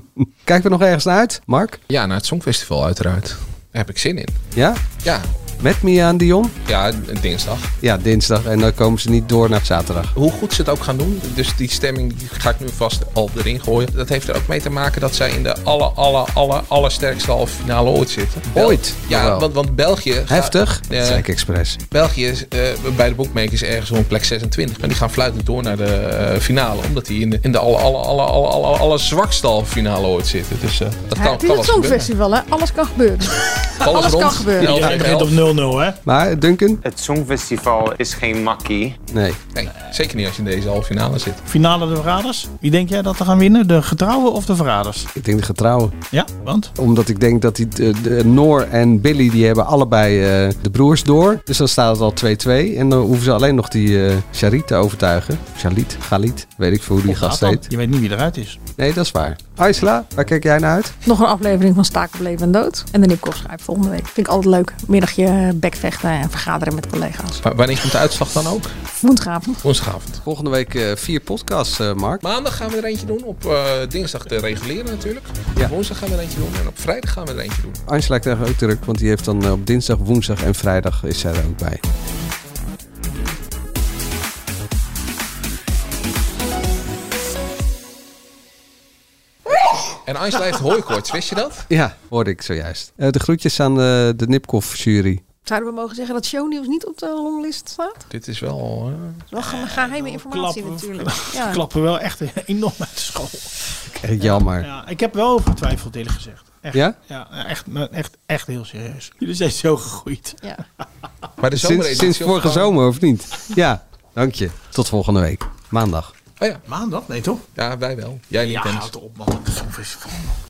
[SPEAKER 1] Kijken we nog ergens naar uit, Mark?
[SPEAKER 3] Ja, naar het Songfestival uiteraard. Daar heb ik zin in.
[SPEAKER 1] Ja?
[SPEAKER 3] Ja.
[SPEAKER 1] Met Mia en Dion?
[SPEAKER 3] Ja, dinsdag.
[SPEAKER 1] Ja, dinsdag. En dan komen ze niet door naar zaterdag.
[SPEAKER 3] Hoe goed ze het ook gaan doen, dus die stemming die ga ik nu vast al erin gooien. Dat heeft er ook mee te maken dat zij in de alle, alle, alle, allersterkste halve finale ooit zitten. Bel-
[SPEAKER 1] Ooit?
[SPEAKER 3] Ja,
[SPEAKER 1] Jawel.
[SPEAKER 3] want, want België... gaat- Eh,
[SPEAKER 1] Heftig?
[SPEAKER 3] Ja.
[SPEAKER 1] Dat zei ik expres.
[SPEAKER 3] België is eh, bij de bookmakers ergens rond plek 26. Maar die gaan fluitend door naar de eh, finale. Omdat die in de, in de alle, alle, alle, alle, alle, alle zwakste halve finale ooit zitten. Dus eh, dat
[SPEAKER 4] Ja,
[SPEAKER 3] kan, kan wel
[SPEAKER 4] het is het
[SPEAKER 3] eens gebeuren.
[SPEAKER 4] Songfestival, hè? Alles kan gebeuren. Alles,
[SPEAKER 3] rond.
[SPEAKER 4] kan gebeuren.
[SPEAKER 3] Elf tegen elf.
[SPEAKER 9] hè?
[SPEAKER 1] Maar Duncan?
[SPEAKER 2] Het Songfestival is geen makkie.
[SPEAKER 1] Nee.
[SPEAKER 3] Nee, zeker niet als je in deze halve finale zit.
[SPEAKER 9] Finale de verraders. Wie denk jij dat er gaan winnen? De getrouwen of de verraders?
[SPEAKER 1] Ik denk de getrouwen.
[SPEAKER 9] Ja, want?
[SPEAKER 1] Omdat ik denk dat die, de, de- Noor en Billy, die hebben allebei eh, de broers door. Dus dan staat het al 2-2. En dan hoeven ze alleen nog die eh Charit te overtuigen. Charit, Galit, weet ik veel hoe die gast
[SPEAKER 9] Nathan,
[SPEAKER 1] heet.
[SPEAKER 9] Je weet niet wie eruit is.
[SPEAKER 1] Nee, dat is waar. Aisla, waar kijk jij naar uit?
[SPEAKER 4] Nog een aflevering van Staken, Bleven en Dood. En de Nipkoff-schrijf volgende week. Vind ik altijd leuk. Middagje bekvechten en vergaderen met collega's.
[SPEAKER 3] Wa- wanneer komt de uitslag dan ook?
[SPEAKER 4] Woensdagavond.
[SPEAKER 3] Woensdagavond.
[SPEAKER 1] Volgende week eh, vier podcasts, eh, Mark.
[SPEAKER 3] Maandag gaan we er eentje doen. Op eh, dinsdag de reguleren natuurlijk.
[SPEAKER 1] Ja.
[SPEAKER 3] Woensdag gaan we er eentje doen. En op vrijdag gaan we er eentje doen.
[SPEAKER 1] Aisla krijgt ook druk, want die heeft dan eh, op dinsdag, woensdag en vrijdag is zij er ook bij.
[SPEAKER 3] En Einstein heeft hooikoorts, wist je dat?
[SPEAKER 1] Ja, hoorde ik zojuist. Eh, de groetjes aan eh, de Nipkoff-jury.
[SPEAKER 4] Zouden we mogen zeggen dat shownieuws niet op de longlist staat?
[SPEAKER 3] Dit is wel... eh,
[SPEAKER 4] Dat is wel ge- geheime informatie natuurlijk.
[SPEAKER 9] Ze
[SPEAKER 4] Ja.
[SPEAKER 9] klappen wel echt enorm uit de school.
[SPEAKER 1] Echt Eh, jammer.
[SPEAKER 9] Ja, ik heb wel over getwijfeld, eerlijk gezegd. Echt,
[SPEAKER 1] Ja?
[SPEAKER 9] Ja, echt, echt, echt heel serieus. Jullie zijn zo gegroeid.
[SPEAKER 4] Ja.
[SPEAKER 3] Maar de
[SPEAKER 1] sinds, sinds vorige zomer, of niet? Ja, dank je. Tot volgende week. Maandag.
[SPEAKER 3] Oh ja.
[SPEAKER 9] Maandag? Nee, toch?
[SPEAKER 3] Ja, wij wel. Jij niet,
[SPEAKER 9] Ja,
[SPEAKER 3] Dennis.
[SPEAKER 9] houd op, man. Zo is het.